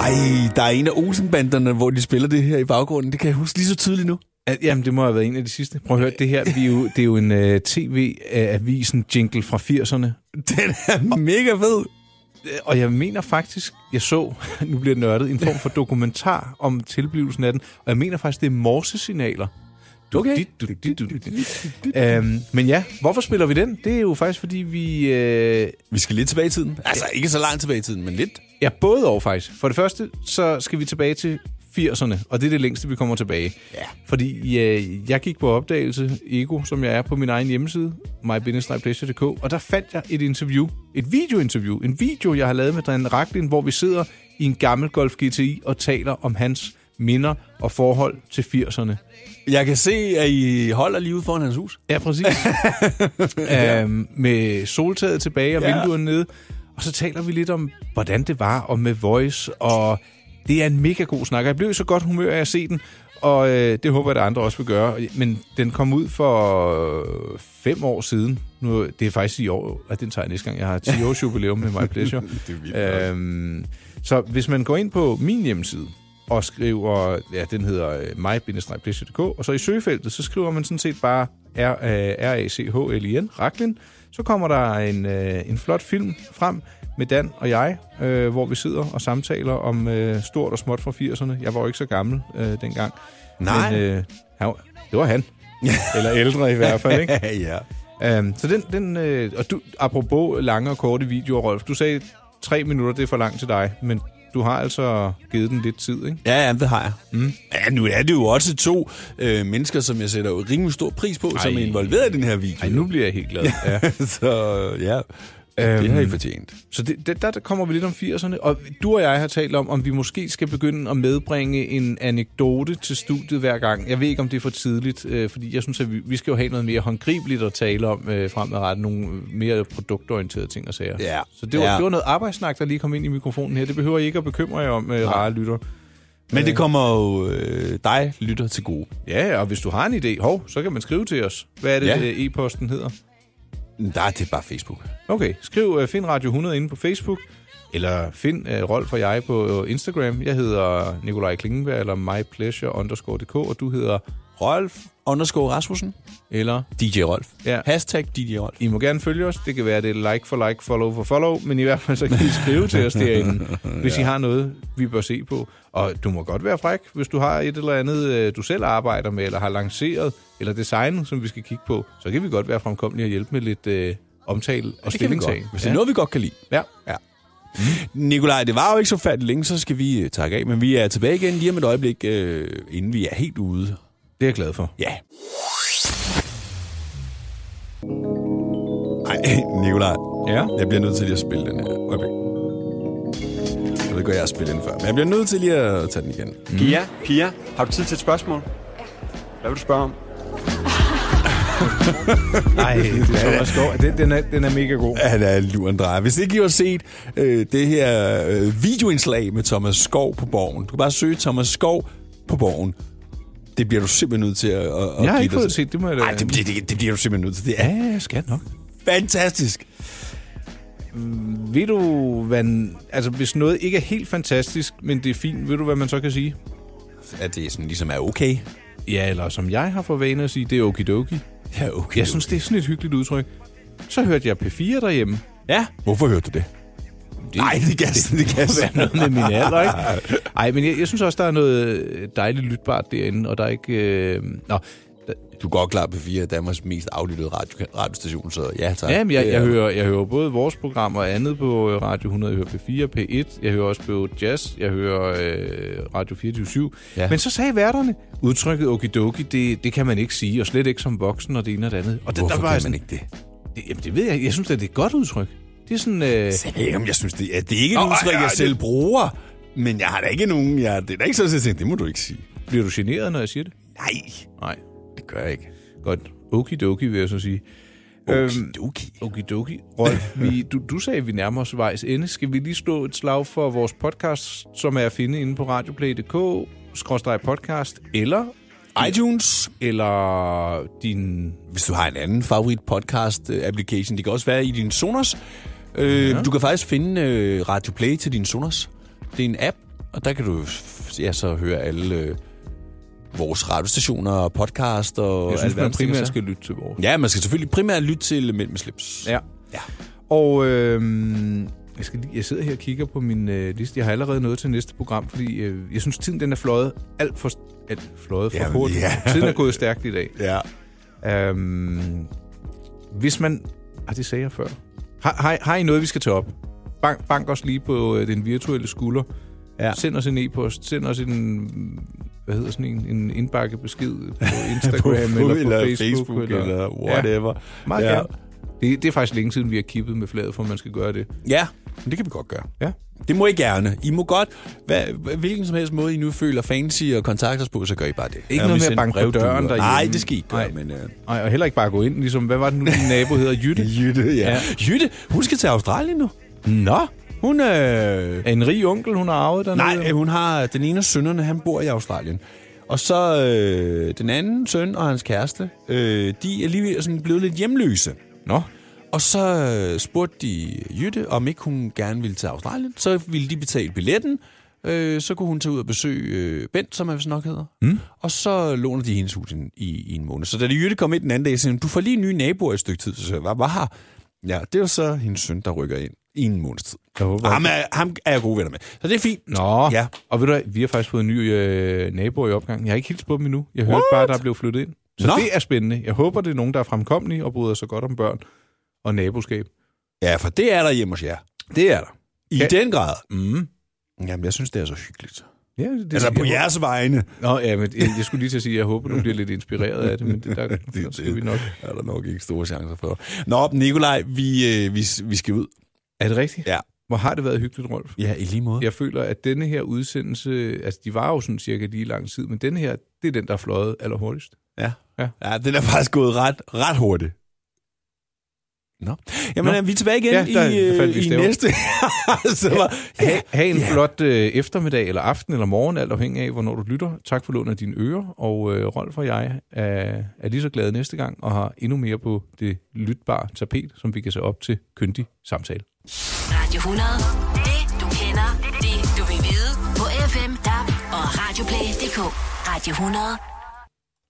[SPEAKER 2] Ej, der er en af Olsenbanderne, hvor de spiller det her i baggrunden. Det kan jeg huske lige så tydeligt nu.
[SPEAKER 3] At, jamen, det må have været en af de sidste. Prøv at høre, det her, vi er jo, det er jo en uh, tv-avisen jingle fra 80'erne.
[SPEAKER 2] Den er mega fed.
[SPEAKER 3] Og jeg mener faktisk, jeg så, nu bliver det nørdet, en form for dokumentar om tilblivelsen af den, og jeg mener faktisk, det er morsesignaler. Du, okay. Dit, du, dit, du, dit. Øhm, men ja, hvorfor spiller vi den? Det er jo faktisk, fordi vi... Øh,
[SPEAKER 2] Vi skal lidt tilbage i tiden. Altså, ikke så langt tilbage i tiden, men lidt.
[SPEAKER 3] Ja, både og faktisk. For det første, så skal vi tilbage til 80'erne, og det er det længste, vi kommer tilbage. Ja. Fordi øh, jeg gik på opdagelse, Ego, som jeg er på min egen hjemmeside, mybindestrejpleasure.dk, og der fandt jeg et interview, et videointerview, en video, jeg har lavet med Dan Raklin, hvor vi sidder i en gammel Golf GTI og taler om hans minder og forhold til 80'erne.
[SPEAKER 2] Jeg kan se, at I holder lige ude foran hans hus.
[SPEAKER 3] Ja, præcis. øhm, med soltaget tilbage og ja.
[SPEAKER 2] Ja.
[SPEAKER 3] vinduerne nede. Og så taler vi lidt om, hvordan det var, og med voice, og det er en mega god snak. Og Jeg blev i så godt humør af at se den, og øh, det håber jeg, at andre også vil gøre. Men den kom ud for øh, fem år siden. Nu, det er faktisk i år, at den tager jeg næste gang. Jeg har 10 års jubilæum med My Pleasure. det er øhm, så hvis man går ind på min hjemmeside, og skriver, ja, den hedder øh, mig-pleasure.dk, og så i søgefeltet, så skriver man sådan set bare R- øh, R-A-C-H-L-I-N, Raklin, så kommer der en, øh, en flot film frem med Dan og jeg, øh, hvor vi sidder og samtaler om øh, stort og småt fra 80'erne. Jeg var jo ikke så gammel øh, dengang.
[SPEAKER 2] Nej.
[SPEAKER 3] Men, øh, han, var- det var han. Eller ældre i hvert fald, ikke?
[SPEAKER 2] ja.
[SPEAKER 3] Um, så den, den øh, og du, apropos lange og korte videoer, Rolf, du sagde, tre minutter, det er for langt til dig, men du har altså givet den lidt tid, ikke?
[SPEAKER 2] Ja, ja, det har jeg. Mm. Ja, nu er det jo også to øh, mennesker, som jeg sætter jo rimelig stor pris på, Ej. som er involveret i den her video.
[SPEAKER 3] Ej, nu bliver jeg helt glad. Ja.
[SPEAKER 2] Så ja, øhm. det har I fortjent.
[SPEAKER 3] Så det, det, der kommer vi lidt om 80'erne, og du og jeg har talt om, om vi måske skal begynde at medbringe en anekdote til studiet hver gang. Jeg ved ikke, om det er for tidligt, øh, fordi jeg synes, at vi, vi skal jo have noget mere håndgribeligt at tale om øh, fremadrettet, nogle mere produktorienterede ting og sager.
[SPEAKER 2] Ja.
[SPEAKER 3] Så det var,
[SPEAKER 2] Ja.
[SPEAKER 3] det var noget arbejdssnak, der lige kom ind i mikrofonen her. Det behøver I ikke at bekymre jer om, øh, rare lytter.
[SPEAKER 2] Men det kommer jo øh, dig, lytter, til gode.
[SPEAKER 3] Ja, og hvis du har en idé, hov, så kan man skrive til os. Hvad er det,
[SPEAKER 2] Ja.
[SPEAKER 3] ja. e-posten hedder?
[SPEAKER 2] Nej, det Mm, er bare Facebook.
[SPEAKER 3] Okay, skriv uh, Find Radio 100 inde på Facebook, eller find uh, Rolf og jeg på øh, Instagram. Jeg hedder Nikolaj Klingenberg, eller mypleasure_dk, og du hedder Rolf,
[SPEAKER 2] Underscore Rasmussen.
[SPEAKER 3] eller...
[SPEAKER 2] DJ Rolf.
[SPEAKER 3] Ja.
[SPEAKER 2] Hashtag DJ Rolf.
[SPEAKER 3] I må gerne følge os. Det kan være, det er like for like, follow for follow, men i hvert fald så kan I skrive til os derinde, hvis I har noget, vi bør se på. Og du må godt være fræk, hvis du har et eller andet, øh, du selv arbejder med, eller har lanceret, eller designet, som vi skal kigge på, så kan vi godt være fremkommelige og hjælpe med lidt øh, omtale og
[SPEAKER 2] Det kan vi godt.
[SPEAKER 3] stillingtagen.
[SPEAKER 2] Hvis det
[SPEAKER 3] ja.
[SPEAKER 2] er noget, vi godt kan lide.
[SPEAKER 3] Ja.
[SPEAKER 2] Nikolaj, det var jo ikke så fattigt længe, så skal vi øh, takke af, men vi er tilbage igen lige om et øjeblik, øh, inden vi er helt ude.
[SPEAKER 3] Det er jeg glad for.
[SPEAKER 2] Ja. Ej, Nikolaj,
[SPEAKER 3] Ja.
[SPEAKER 2] jeg bliver nødt til lige at spille den her. Øjeblik. Jeg ved godt, jeg har spillet den før, men jeg bliver nødt til lige at tage den igen.
[SPEAKER 3] Mm.
[SPEAKER 8] Pia, Pia, har du tid til et spørgsmål? Hvad vil du spørge om?
[SPEAKER 3] Nej, det er skov. Den, den, er, den er mega god.
[SPEAKER 2] Han er luren drejer. Hvis ikke I har set øh, det her øh, videoindslag med Thomas Skov på borgen. Du kan bare søge Thomas Skov på borgen. Det bliver du simpelthen nødt til at, at
[SPEAKER 3] Jeg har ikke fået set, det må jeg da...
[SPEAKER 2] Nej, det, det, det, det bliver du simpelthen nødt til. Det er
[SPEAKER 3] Ja, jeg skal nok.
[SPEAKER 2] fantastisk.
[SPEAKER 3] Ved du, hvad... Altså, hvis noget ikke er helt fantastisk, men det er fint, ved du, hvad man så kan sige?
[SPEAKER 2] At det sådan ligesom er okay.
[SPEAKER 3] Ja, eller som jeg har for vane at sige, det er okidoki.
[SPEAKER 2] Ja, okay.
[SPEAKER 3] Jeg synes, det er sådan et hyggeligt udtryk. Så hørte jeg P4 derhjemme.
[SPEAKER 2] Ja. Hvorfor hørte du det?
[SPEAKER 3] det,
[SPEAKER 4] Nej, det kan- det kan
[SPEAKER 3] være noget med min alder, ikke? Ej, men jeg, jeg synes også, der er noget dejligt lytbart derinde, og der er ikke... Øh, nå, der,
[SPEAKER 2] Du er godt klar på fire af Danmarks mest aflyttede radio, radiostation, så ja tak. Øh,
[SPEAKER 3] Ja, men jeg,
[SPEAKER 2] Det
[SPEAKER 3] jeg,
[SPEAKER 2] er-
[SPEAKER 3] hører, jeg hører både vores program og andet på øh, Radio 100. Jeg hører P4, P1, jeg hører også på Jazz, jeg hører øh, Radio 24 ja.
[SPEAKER 2] Ja.
[SPEAKER 3] Men så sagde værterne, udtrykket okidoki, det, det kan man ikke sige, og slet ikke som voksen og det ene og det andet. Og det,
[SPEAKER 4] Hvorfor
[SPEAKER 3] var
[SPEAKER 4] kan
[SPEAKER 3] jeg
[SPEAKER 4] man ikke det?
[SPEAKER 3] det? Jamen, det ved jeg ikke. Jeg synes, at det er et godt udtryk. Det er sådan... Øh,
[SPEAKER 4] Jeg ved ikke, om jeg synes, det er, det er ikke
[SPEAKER 3] Nå,
[SPEAKER 4] et udtryk,
[SPEAKER 3] ej, ej,
[SPEAKER 4] jeg selv
[SPEAKER 3] det-
[SPEAKER 4] bruger, men jeg har da ikke nogen... Jeg, det er da ikke sådan, at jeg tænker, det må du ikke sige.
[SPEAKER 3] Bliver du generet, når jeg siger det?
[SPEAKER 4] Nej,
[SPEAKER 3] Nej.
[SPEAKER 4] det gør jeg ikke.
[SPEAKER 3] Godt. Okidoki, vil jeg så sige.
[SPEAKER 4] Okidoki.
[SPEAKER 3] Øhm, okidoki. Rolf, vi, du, du sagde, at vi nærmer os vejs ende. Skal vi lige slå et slag for vores podcast, som er at finde inde på radioplay.dk, skråstreg podcast, eller,
[SPEAKER 2] iTunes.
[SPEAKER 3] eller din...
[SPEAKER 2] Hvis du har en anden favorit podcast øh, application, det kan også være i din Sonos. Øh, Du kan faktisk finde øh, Radio Play til din Sonos. Det er en app, og der kan du f- ja, så høre alle øh, vores radiostationer og podcast. Og
[SPEAKER 3] Jeg synes, man
[SPEAKER 2] alverdens ting og
[SPEAKER 3] primært
[SPEAKER 2] sager.
[SPEAKER 3] skal lytte til vores.
[SPEAKER 2] Ja, man skal selvfølgelig primært lytte til Mænd med slips.
[SPEAKER 3] Ja. ja. Og øhm, jeg, skal lige, jeg sidder her og kigger på min øh, liste. Jeg har allerede noget til næste program, fordi øh, jeg synes, tiden den er fløjet alt for, alt fløjet for
[SPEAKER 4] Jamen,
[SPEAKER 3] hurtigt.
[SPEAKER 4] ja.
[SPEAKER 3] Tiden er gået stærkt i dag.
[SPEAKER 4] Ja.
[SPEAKER 3] Øhm, hvis man... Ah, det sagde jeg før. Har, har, har I noget, vi skal tage op? Bank, bank os lige på øh, den virtuelle skulder. Ja.
[SPEAKER 4] Ja.
[SPEAKER 3] Send os en e-post. Send os en... Hvad hedder sådan en? En indbakke besked på Instagram på, eller, på Facebook.
[SPEAKER 4] eller,
[SPEAKER 3] Ja,
[SPEAKER 4] whatever.
[SPEAKER 3] meget ja. gerne. Det, det er faktisk længe siden, vi har kippet med flaget, for at man skal gøre det.
[SPEAKER 2] Ja, men det kan vi godt gøre.
[SPEAKER 3] Ja.
[SPEAKER 2] Det må I gerne. I må godt, hvad, hvilken som helst måde, I nu føler fancy og kontakter os på, så gør I bare det.
[SPEAKER 3] Ikke noget med at banke på døren derhjemme.
[SPEAKER 2] Nej, det skal I ikke gøre,
[SPEAKER 3] Nej.
[SPEAKER 2] men... Øh,
[SPEAKER 3] Ej, og heller ikke bare gå ind, ligesom, hvad var det nu, din nabo hedder? Jytte?
[SPEAKER 4] Jytte, ja.
[SPEAKER 3] Ja.
[SPEAKER 4] ja.
[SPEAKER 2] Jytte, hun skal til Australien nu.
[SPEAKER 3] Nå,
[SPEAKER 2] Hun, øh,
[SPEAKER 3] er en rig onkel, hun har arvet dernede?
[SPEAKER 2] nej, øh, hun har den ene af sønnerne, han bor i Australien. Og så øh, den anden søn og hans kæreste, øh, de er lige sådan blevet lidt hjemløse.
[SPEAKER 3] Nå,
[SPEAKER 2] Og så øh, spurgte de Jytte, om ikke hun gerne ville til Australien. Så ville de betale billetten. Øh, så kunne hun tage ud og besøge øh, Bent, som han vist nok hedder. Mm. Og så låner de hendes hus i, i, i en måned. Så da de Jytte kom ind den anden dag, sagde hun, du får lige nye naboer i et stykke tid. Så sagde jeg, hvad var her? Ja, det var så hendes søn, der rykker ind i en måneds tid.
[SPEAKER 3] Jeg håber-
[SPEAKER 2] ham, er, ham er jeg gode venner med. Så det er fint.
[SPEAKER 3] Nå, ja.
[SPEAKER 2] Ja.
[SPEAKER 3] og ved du hvad, vi har faktisk fået en ny øh, nabo i opgangen. Jeg har ikke hilst på dem endnu. Jeg hørte bare, der blev flyttet ind. Så Nå.
[SPEAKER 2] Nå.
[SPEAKER 3] det er spændende. Jeg håber, det er nogen, der er fremkommelige og bryder sig godt om børn og naboskab.
[SPEAKER 2] Ja, for det er der hjemme hos jer.
[SPEAKER 3] Det er der.
[SPEAKER 2] I
[SPEAKER 3] Ja.
[SPEAKER 2] den grad.
[SPEAKER 3] Mm.
[SPEAKER 2] Jamen, jeg synes, det er så hyggeligt.
[SPEAKER 3] Ja, det,
[SPEAKER 2] Altså, på
[SPEAKER 3] jeg,
[SPEAKER 2] jeres vegne.
[SPEAKER 3] Nå, ja, men øh, jeg, jeg skulle lige til at sige, at jeg håber, du bliver lidt inspireret af det, men det, der, der skal vi nok.
[SPEAKER 2] er der nok ikke store chancer for. Nå, Nikolaj, vi, øh, vi, vi skal ud.
[SPEAKER 3] Er det rigtigt?
[SPEAKER 2] Ja.
[SPEAKER 3] Hvor har det været hyggeligt, Rolf?
[SPEAKER 2] Ja, i lige måde.
[SPEAKER 3] Jeg føler, at denne her udsendelse, altså de var jo sådan cirka lige lang tid, men denne her, det er den, der er fløjet allerhurtigst.
[SPEAKER 2] Ja.
[SPEAKER 3] Ja.
[SPEAKER 2] ja. ja den er faktisk gået ret, ret hurtigt. Nå. Jamen,
[SPEAKER 3] Nå.
[SPEAKER 2] Nå. vi er tilbage igen
[SPEAKER 3] Ja, der-
[SPEAKER 2] i,
[SPEAKER 3] der
[SPEAKER 2] øh,
[SPEAKER 3] fandt vi
[SPEAKER 2] i
[SPEAKER 3] staven.
[SPEAKER 2] næste. Så var,
[SPEAKER 3] Ha, ha en yeah. flot øh, eftermiddag, eller aften, eller morgen, alt afhængig af, hvornår du lytter. Tak for lånet af dine ører, og øh, Rolf og jeg er, er lige så glade næste gang, og har endnu mere på det lytbare tapet, som vi kan se op til kyndig samtale.
[SPEAKER 1] Radio 100. Det du kender, det du vil vide. På FM, DAB og Radioplay.dk. Radio 100